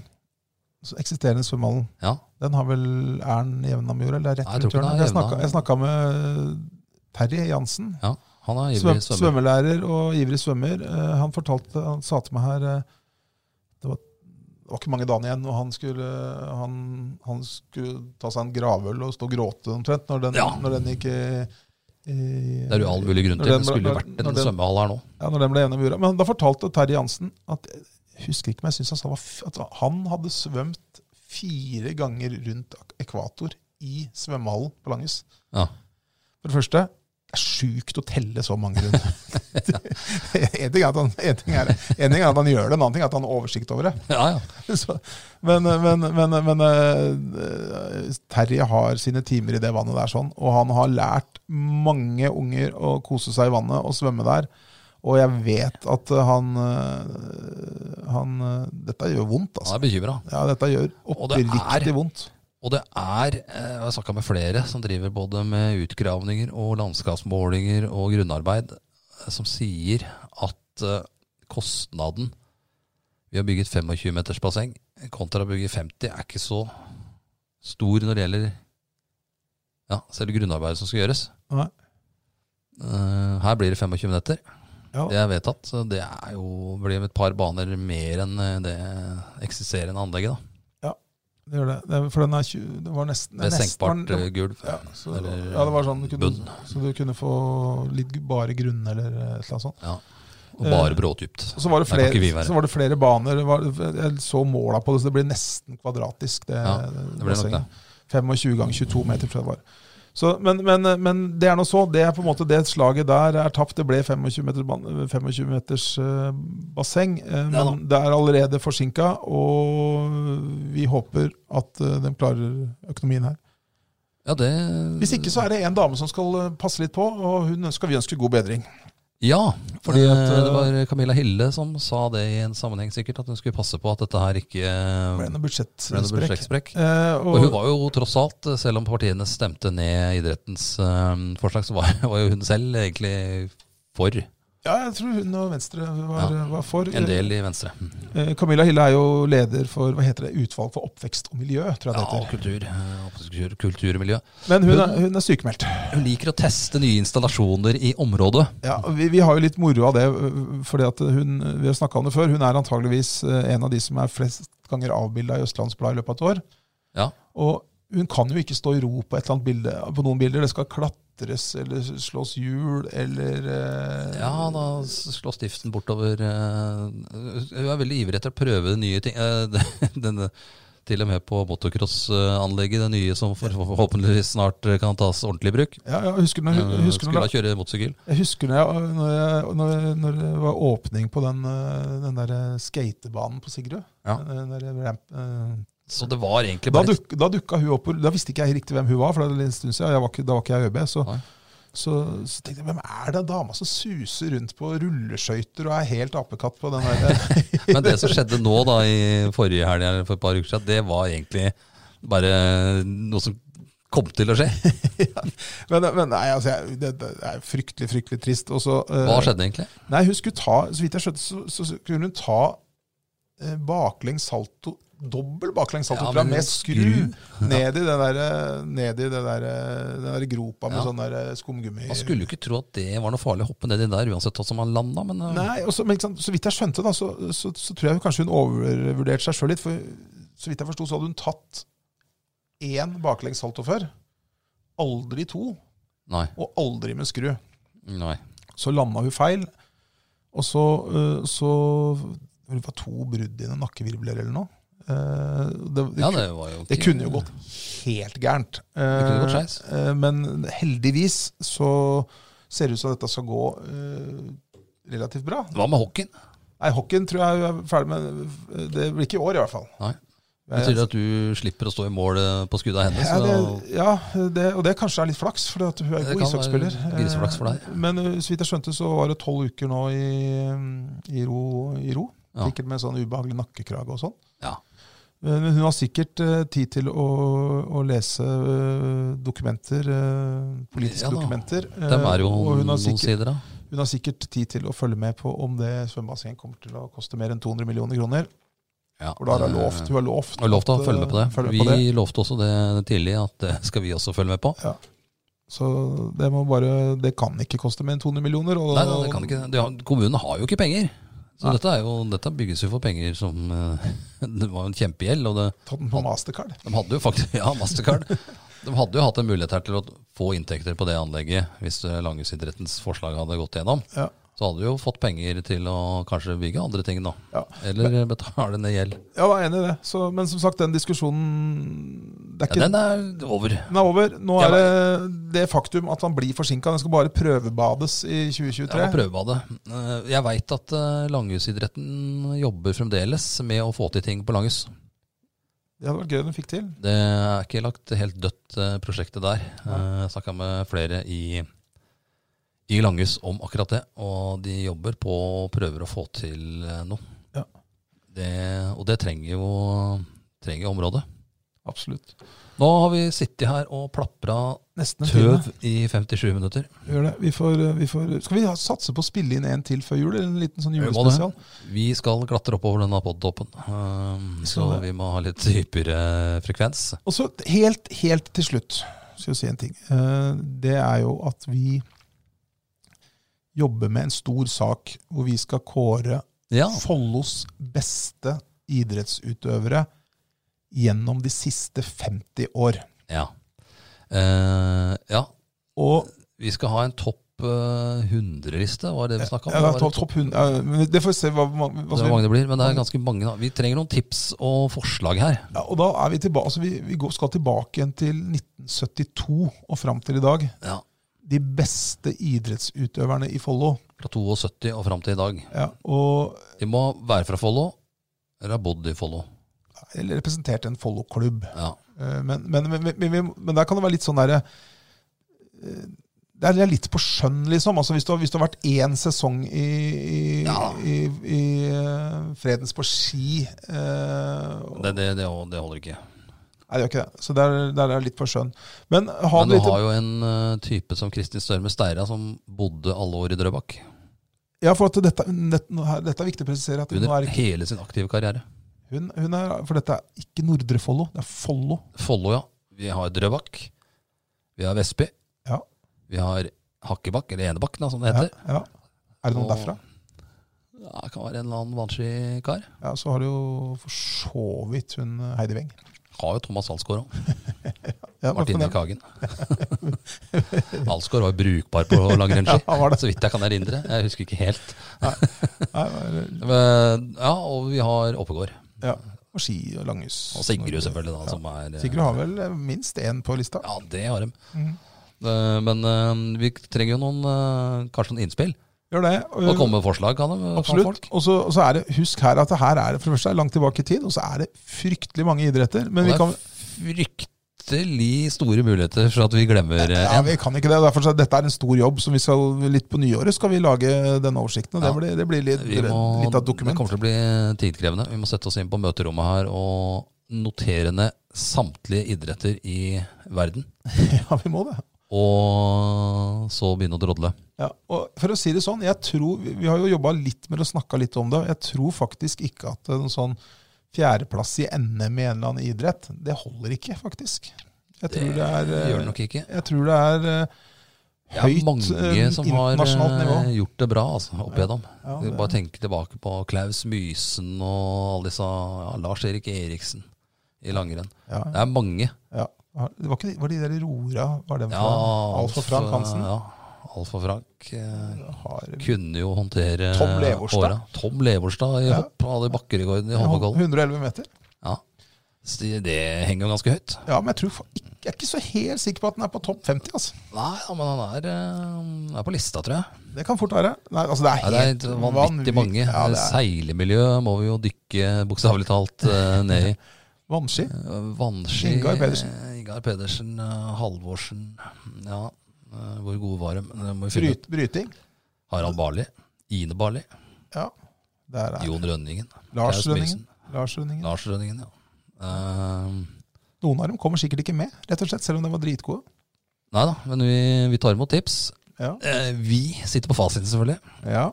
så eksisterende svømmehallen, Ja. den har vel er den Jevnamjord, eller er det Nei, jeg rett rundt tror ikke den hjørnet? er Jeg snakka- Jevnam. Jeg snakka med eh, Terje Jansen, ja. Han er svøm, ivrig svømmer. svømmelærer og ivrig svømmer. Eh, Han fortalte, han sa til meg her eh, det var, det var ikke mange dagene igjen, og han skulle, han, han skulle ta seg en gravøl og stå og gråte omtrent når den, Ja. når den gikk i, i Det er jo all mulig grunn når til. Det den ble- skulle jo når- vært en når den- svømmehall her nå. *laughs* ja, når den ble gjennom jorda. Men da fortalte Terje Jansen at jeg husker ikke, men jeg synes han sa det var f- at han hadde svømt fire ganger rundt ak- ekvator i svømmehallen på Langes. Ja. For det første, det er sjukt å telle så mange runder. *laughs* en, ting er at han, en, ting er, en ting er at han gjør det, en annen ting er at han har oversikt over det. Ja, ja. *laughs* Så, men men, men, men eh, Terje har sine timer i det vannet der, sånn, og han har lært mange unger å kose seg i vannet og svømme der. Og jeg vet at han, eh, han eh, Dette gjør vondt, Han altså. er bekymra. Ja, dette gjør Og det er- oppriktig vondt. Og det er, eh, jeg har snakka med flere som driver både med utgravninger og landskapsmålinger og grunnarbeid, eh, som sier at eh, kostnaden ved å bygge et 25 meters basseng kontra å bygge 50 er ikke så stor når det gjelder ja, selve grunnarbeidet som skal gjøres. Nei. Eh, Her blir det 25 meter. Ja. Det er vedtatt. Så det er jo, blir et par baner mer enn eh, det eksisterende anlegget. da. Det gjør det. det er- for den er 20, det var nesten Med nesten var den- senkbart eh, gulv. Ja, så, Eller ja, det var sånn du bunn. kunne, så du kunne få litt gu- bare grunn eller et eller annet sånt. Ja. Og bare Eh, brådypt. Og Så var det Der kan ikke vi flere, være. så var det flere baner. det Var, jeg så måla på det, så det ble nesten kvadratisk. Det, Ja, Det ble nok det. bassenget. 25 ganger 22 meter, tror jeg det var. Så, men, men, men det er nå så. Det er på en måte det slaget der er tapt. Det ble 25 meters, ban- 25 meters eh, basseng. eh, Men Ja da. det er allerede forsinka, og vi håper at eh, de klarer økonomien her. Ja, det Hvis ikke så er det en dame som skal eh, passe litt på, og hun ønsker, vi ønsker god bedring. Ja, Fordi at, eh, det eh, var Camilla Hille som sa det i en sammenheng sikkert, at hun skulle passe på at dette her ikke eh, ble Ble det noe noe budsjettsprekk? budsjettsprekk. Eh, Og hun var jo tross alt, eh, selv om partiene stemte ned idrettens eh, forslag, så var, *laughs* var jo hun selv egentlig for ja, jeg tror hun og Venstre var, var for. en del i Venstre. Eh, Camilla Hille er jo leder for hva heter det, utvalg for oppvekst og miljø, tror Ja, jeg det og heter. kultur, eh, kultur, kultur og miljø. Men hun er, hun er sykemeldt. Hun liker å teste nye installasjoner i området. Ja, vi, vi har jo litt moro av det, øh, fordi at hun, vi har snakka om det før. Hun er antageligvis øh, en av de som er flest ganger avbilda i Østlandsbladet i løpet av et år. Ja. Og hun kan jo ikke stå i ro på, et eller annet bilde, på noen bilder. Det skal klatres eller slås hjul eller øh, Ja, da s- slår stiften bortover. eh, Hun er veldig ivrig etter å prøve nye ting. eh, *laughs* Denne, til og med på motocrossanlegget, det nye som for- forhåpentligvis snart kan tas ordentlig i bruk. ja, ja, husker du når, Eh, hun- husker du Skulle da når, kjøre motorsykkel. jeg husker når, jeg, når, jeg, når, jeg, når det var åpning på den, øh, den der skatebanen på Sigrud. Ja. Den der ramp, øh, Så det var egentlig Da, bare et- duk, da dukka hun opp, og da visste ikke jeg riktig hvem hun var, for det var en stund siden, jeg var ikke, da var ikke jeg ØB. Så, Nei. så, så tenkte jeg, hvem er den dama som suser rundt på rulleskøyter og er helt apekatt på den der? *laughs* *laughs* Men det som skjedde nå da i forrige helg eller for et par uker siden, det var egentlig bare noe som kom til å skje. men men nei, altså, jeg, det, det er fryktelig, fryktelig trist. Og så, eh, Hva skjedde egentlig? Nei, hun skulle ta, så vidt jeg skjønte, så, så skulle hun ta eh, baklengs salto, dobbel baklengs salto Ja, fra men med skru. skru *laughs* ned i den der, eh, ned i det der, eh, den der gropa med Ja. sånn der eh, skumgummi. Man skulle jo ikke tro at det var noe farlig å hoppe nedi der uansett hvordan man landa, men eh, Nei, og så- men ikke sant, så vidt jeg skjønte, da, så, så, så tror jeg hun kanskje hun overvurderte seg sjøl litt. For så vidt jeg forsto, så hadde hun tatt én baklengs salto før. Aldri to, nei. og aldri med skru. nei. Så landa hun feil. Og så, øh, så Det var to brudd i noen nakkevirvler eller noe. Eh, Det, det, Ja, det var jo det ikke- kunne jo gått helt gærent. kunne gått skeis. Eh, eh, Men heldigvis så ser det ut som dette skal gå eh, relativt bra. Hva med hockeyen? Nei, hockeyen tror jeg er ferdig med øh, Det blir ikke i år, i hvert fall. Nei. Betyr det at du slipper å stå i mål eh, på skuddet av henne? ja, Så det, ja det, og det kanskje er litt flaks, for hun er Det god kan ishockeyspiller. være griseflaks for deg. Eh, Men eh, så vidt jeg skjønte, så var det tolv uker nå i, i ro. I ro. Ja. Sikkert med sånn ubehagelig nakkekrage og sånn. ja. Men hun har sikkert eh, tid til å, å lese eh, dokumenter, eh, politiske Ja da. dokumenter. eh, Dem er jo og hun har, noen sikkert, sider, da. hun har sikkert tid til å følge med på om det svømmebassenget kommer til å koste mer enn 200 millioner kroner. Ja. For da har hun lovt. Hun har lovt, Og lovte å at, følge med på det. eh, følge med vi på det. lovte også det tidlig, at det skal vi også følge med på. Så det, må bare, det kan ikke koste mer enn 200 millioner. Og, Nei, nei, det kan ikke det. De har- Kommunen har jo ikke penger. Så dette, er jo, dette bygges jo for penger som eh, *laughs* Det var jo en kjempegjeld, og det, Ta den på Mastercard. de hadde jo faktisk *laughs* Ja, Mastercard. De hadde jo hatt en mulighet her til å få inntekter på det anlegget hvis eh, langhusidrettens forslag hadde gått gjennom. Ja. Så hadde du jo fått penger til å kanskje bygge andre ting, da. Ja. Eller betale ned gjeld. Ja, jeg er enig i det. Så, men som sagt, den diskusjonen det Ja, er ikke, den er over. den er over. Nå Ja, er det det faktum at han blir forsinka. Den skal bare prøvebades i Jeg må 2023. prøve av det. Eh, Jeg veit at eh, langhusidretten jobber fremdeles med å få til ting på langhus. Det hadde vært gøy om hun fikk til. Det er ikke lagt helt dødt, eh, prosjektet der. Eh, Jeg snakka med flere i, i Langhus om akkurat det, og de jobber på og prøver å få til eh, noe. Ja. Det, og det trenger jo trenger jo området. Absolutt. Nå har vi sittet her og plapra Nesten en time. tøv i 57 minutter. Gjør det. Vi får, vi får, skal vi ha- satse på å spille inn en til før jul? eller En liten sånn Vi må det. julespesial? Vi skal klatre oppover denne podtoppen, ehm, skal så det. vi må ha litt hyppigere frekvens. Og så helt, helt til slutt skal jeg si en ting. Eh, Det er jo at vi jobber med en stor sak hvor vi skal kåre Ja, Follos beste idrettsutøvere gjennom de siste 50 år. ja. Eh, ja. Og Vi skal ha en topp eh, 100-liste, var det vi snakka om? ja, Var det topp, topp 100 ja, men Det får vi se hva, hva, hva Det er som mange det blir, men det er ganske mange. Da. Vi trenger noen tips og forslag her. ja, Og da er vi tilbake altså vi, vi går, skal tilbake igjen til 1972 og fram til i dag. Ja. De beste idrettsutøverne i Follo. Fra 72 og fram til i dag. Ja, og De må være fra Follo, eller ha bodd i Follo. eller representert en Follo-klubb. Ja. Eh, Men, men, men, men, men, men der kan det være litt sånn derre eh, Det er- det er litt på skjønn, liksom. Altså, hvis, du har, hvis du har vært én sesong i, i, Ja. i, i eh, Fredens på ski eh, Det, det, det, det holder ikke. Nei, det gjør ikke det. Så der, der er det litt på skjønn. Men har Men du du litt har jo en eh, type som Kristin Størme Steira, som bodde alle år i Drøbak. Ja, for at dette, nett- nå her- dette er viktig å presisere. At hun, Under er, ikke- hele sin aktive karriere. hun, hun er For dette er ikke Nordre Follo, det er Follo. Follo, ja. Vi har Drøbak. Vi har Vestby. Ja. Vi har Hakkebakk, eller Enebakk, da, som det heter. Ja, ja. Er det noen Og- derfra? Ja, det kan være en eller annen vannskikar. Ja, så har du jo for så vidt hun eh, Heidi Weng. Har jo Thomas Alsgaard òg. Ja, bare Martine fornem- Kagen. *laughs* Alsgaard var jo brukbar på langrennsski, *laughs* Ja, var det. så vidt jeg kan erindre. Jeg husker ikke helt. Nei, men, Men, ja, Og vi har Oppegård. ja. Og ski og langhus. Og Sigrud, selvfølgelig, da, som er eh, Sigrud har vel eh, minst én på lista. Ja, det har de. Mhm. Eh, Men eh, vi trenger jo noen eh, kanskje noen innspill. Gjør det. Og komme med forslag kan de, kan Mm. Absolutt. folk. Og så, og så er det, husk her at det her er det for det første er det langt tilbake i tid, og så er det fryktelig mange idretter. Og Men vi det kan, er fryktelig store muligheter for at vi glemmer eh, Ja, en. vi kan ikke det. Derfor, så er dette er en stor jobb. som vi skal, Litt på nyåret skal vi lage denne oversikten. og Det Ja. blir, det blir litt, Vi må, litt av det et dokument. kommer til å bli tidkrevende. Vi må sette oss inn på møterommet her og notere ned samtlige idretter i verden. *laughs* Ja, vi må det. Og så begynne å drodle. Ja, og for å si det sånn, jeg tror, Vi vi har jo jobba litt med å snakke litt om det. og Jeg tror faktisk ikke at en sånn fjerdeplass i NM i en eller annen idrett, det holder ikke, faktisk. Jeg tror det, er Det eh, gjør det nok ikke. Jeg tror det er eh, Det er høyt eh, mange som har internasjonalt nivå. eh, gjort det bra, altså, opp igjennom. Ja, Vi det- Bare tenk tilbake på Klaus Mysen og alle disse ja, Lars-Erik Eriksen i langrenn. Ja, Det er mange. ja. Det var, ikke, de- var de der i Rora var dem Ja, fra? Alf og Frank Hansen? Ja, Alf og Frank eh, Har, kunne jo håndtere Tom Leverstad. åra. Tom Leverstad i Ja. hopp hadde bakkerekorden i Holmenkollen. 111 meter? Ja. Så Det det henger jo ganske høyt. Ja, men jeg, tror, fa- ikke- jeg er ikke så helt sikker på at den er på topp 50. altså. Nei, ja, men han er, eh, er på lista, tror jeg. Det kan fort være. Nei, altså, det er Ja, det er helt helt vanvittig vanvi- mange. Ja, det er Seilemiljø må vi jo dykke bokstavelig talt *laughs* eh, ned i. Vannski. Eh, Vannski Ingar Pedersen. eh, Ingar Pedersen, eh, Halvorsen Ja, eh, hvor gode var de? Det må vi finne ut. Bryt, bryting. Harald Barli. Ine Barli. Ja. Der er Jon Rønningen. Lars Klaus Rønningen. Mysen. Lars Rønningen. Lars Rønningen, ja. Eh, Noen av dem kommer sikkert ikke med, rett og slett, selv om de var dritgode. nei da, men vi, vi tar imot tips. Ja. Eh, vi sitter på fasiten, selvfølgelig. ja.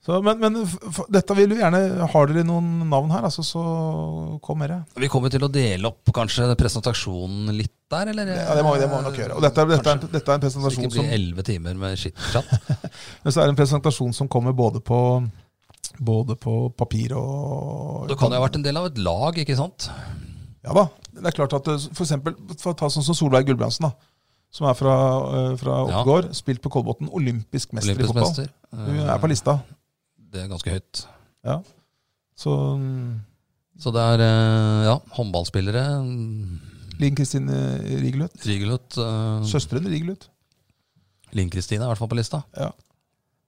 Så, men men f- f- dette vil du gjerne Har dere noen navn her, altså, så kom med det. Vi kommer til å dele opp kanskje presentasjonen litt der, eller? Ja, det må, det må vi nok gjøre. Og dette, er- dette, er, en, dette er Så Eh, det en presentasjon ikke blir som elleve timer med skittprat. *laughs* Men så er det en presentasjon som kommer både på, både på papir og Du kan jo ha vært en del av et lag, ikke sant? Ja da. Det er klart at eh, for eksempel, for å ta sånn som Solveig Gulbrandsen, da. Som er fra, eh, fra Ja. Oppegård. Spilt på Kolbotn. Olympisk mester Olympisk i fotball. mester. Eh, Hun er på lista. Det er ganske høyt. Ja. Så mm, Så det er eh, ja, håndballspillere. Linn Kristine Rigelut. Rigelut. eh, Søsteren Rigelut. Linn Kristine er i hvert fall på lista. Ja.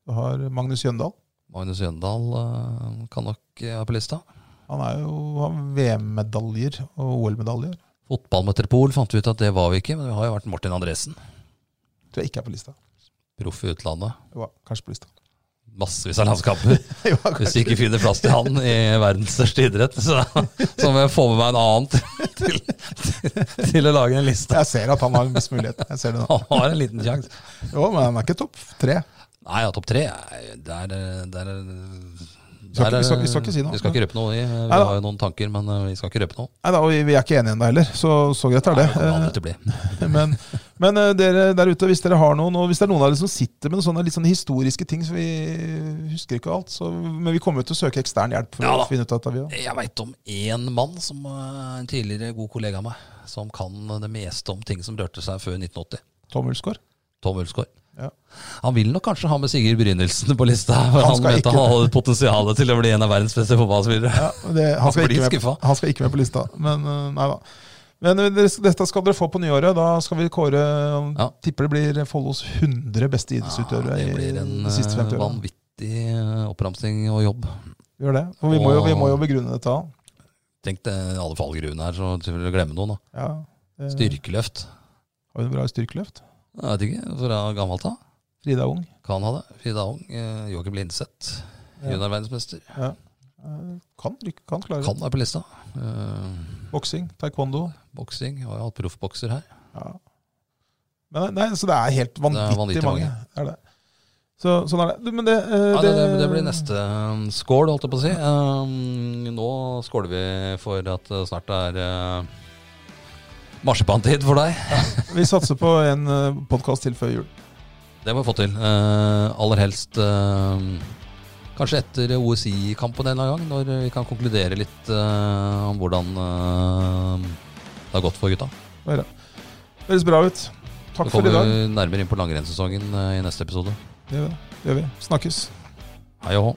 Du har Magnus Jøndal. Magnus Jøndal eh, kan nok eh, være på lista. Han er jo, har VM-medaljer og OL-medaljer. Fotballmetropol fant vi ut at det var vi ikke, men vi har jo vært Martin Andresen. Tror jeg ikke er på lista. Proff i utlandet. Jo, kanskje på lista. *laughs* Massevis av landskamper. Jo, Hvis vi ikke finner plass til han i verdens største idrett, så, så må jeg få med meg en annen til, til, til å lage en liste. Jeg ser at han har en viss mulighet. Jeg ser det nå. Han har en liten sjanse. Jo, men han er ikke topp tre. Nei, ja, topp tre er- der, der, der, skal ikke- vi skal ikke- er- vi skal ikke si noe. Vi skal ikke røpe noe. i- Vi da. har jo noen tanker, men eh, vi skal ikke røpe noe. Nei da, og vi, vi er ikke enige ennå heller, så så greit er det. Det kommer aldri til å bli. Eh, *laughs* Men, men eh, dere der ute, hvis dere har noen, og hvis det er noen av dere som sitter med noen sånne litt sånne historiske ting, så vi husker ikke alt, så, men vi kommer jo til å søke ekstern hjelp for Ja da. å finne ut av dette. Vi, også. Jeg veit om én mann, som eh, en tidligere god kollega av meg, som kan det meste om ting som rørte seg før 1980. Tom Ulsgaard. Tom Ulsgaard. Ja. Han vil nok kanskje ha med Sigurd Brynildsen på lista. For han, skal mente ikke. han hadde potensialet til å bli en av verdens beste fotballspillere. Ja, og det, han, skal blir ikke med, skuffa. han skal ikke med på lista, men eh, nei da. Men eh, dere- dette skal dere få på nyåret. Da skal vi kåre eh, Ja. Tipper det blir Follos 100 beste idrettsutøvere det i blir en de siste 50 eh, årene. vanvittig eh, oppramsing og jobb. Gjør det. For vi må jo, vi må jo Og- begrunne dette. da. Tenk det, alle fallgruvene her, så vil du glemme noen. da. Ja. eh, Styrkeløft. Har vi noe bra styrkeløft? Jeg vet ikke, fra gammelt av. Frida Ung. Kan ha det. Frida Ung, eh, Joakim Lindseth, Ja. juniorverdensmester. Eh, Kan, rykke- kan klare Kan være på lista. Eh, boksing, taekwondo. Boksing. Har jo hatt proffbokser her. Ja. Men, nei, så det er helt vanvittig, vanvittig mange. Er det. Så, sånn er det. Du, men det, eh, Ja, det, det, det blir neste eh, skål, holdt jeg på å si. Eh, nå skåler vi for at det snart er uh, marsipantid for deg. Vi satser på en podkast til før jul. Det må vi få til. Eh, aller helst eh, kanskje etter OSI-kampen en eller annen gang, når vi kan konkludere litt eh, om hvordan eh, det har gått for gutta. Dere. Det høres bra ut. Vi Takk for i kommer dag. nærmere inn på langrennssesongen eh, i neste episode. Det gjør vi. Det gjør vi. Snakkes. Hei og hå.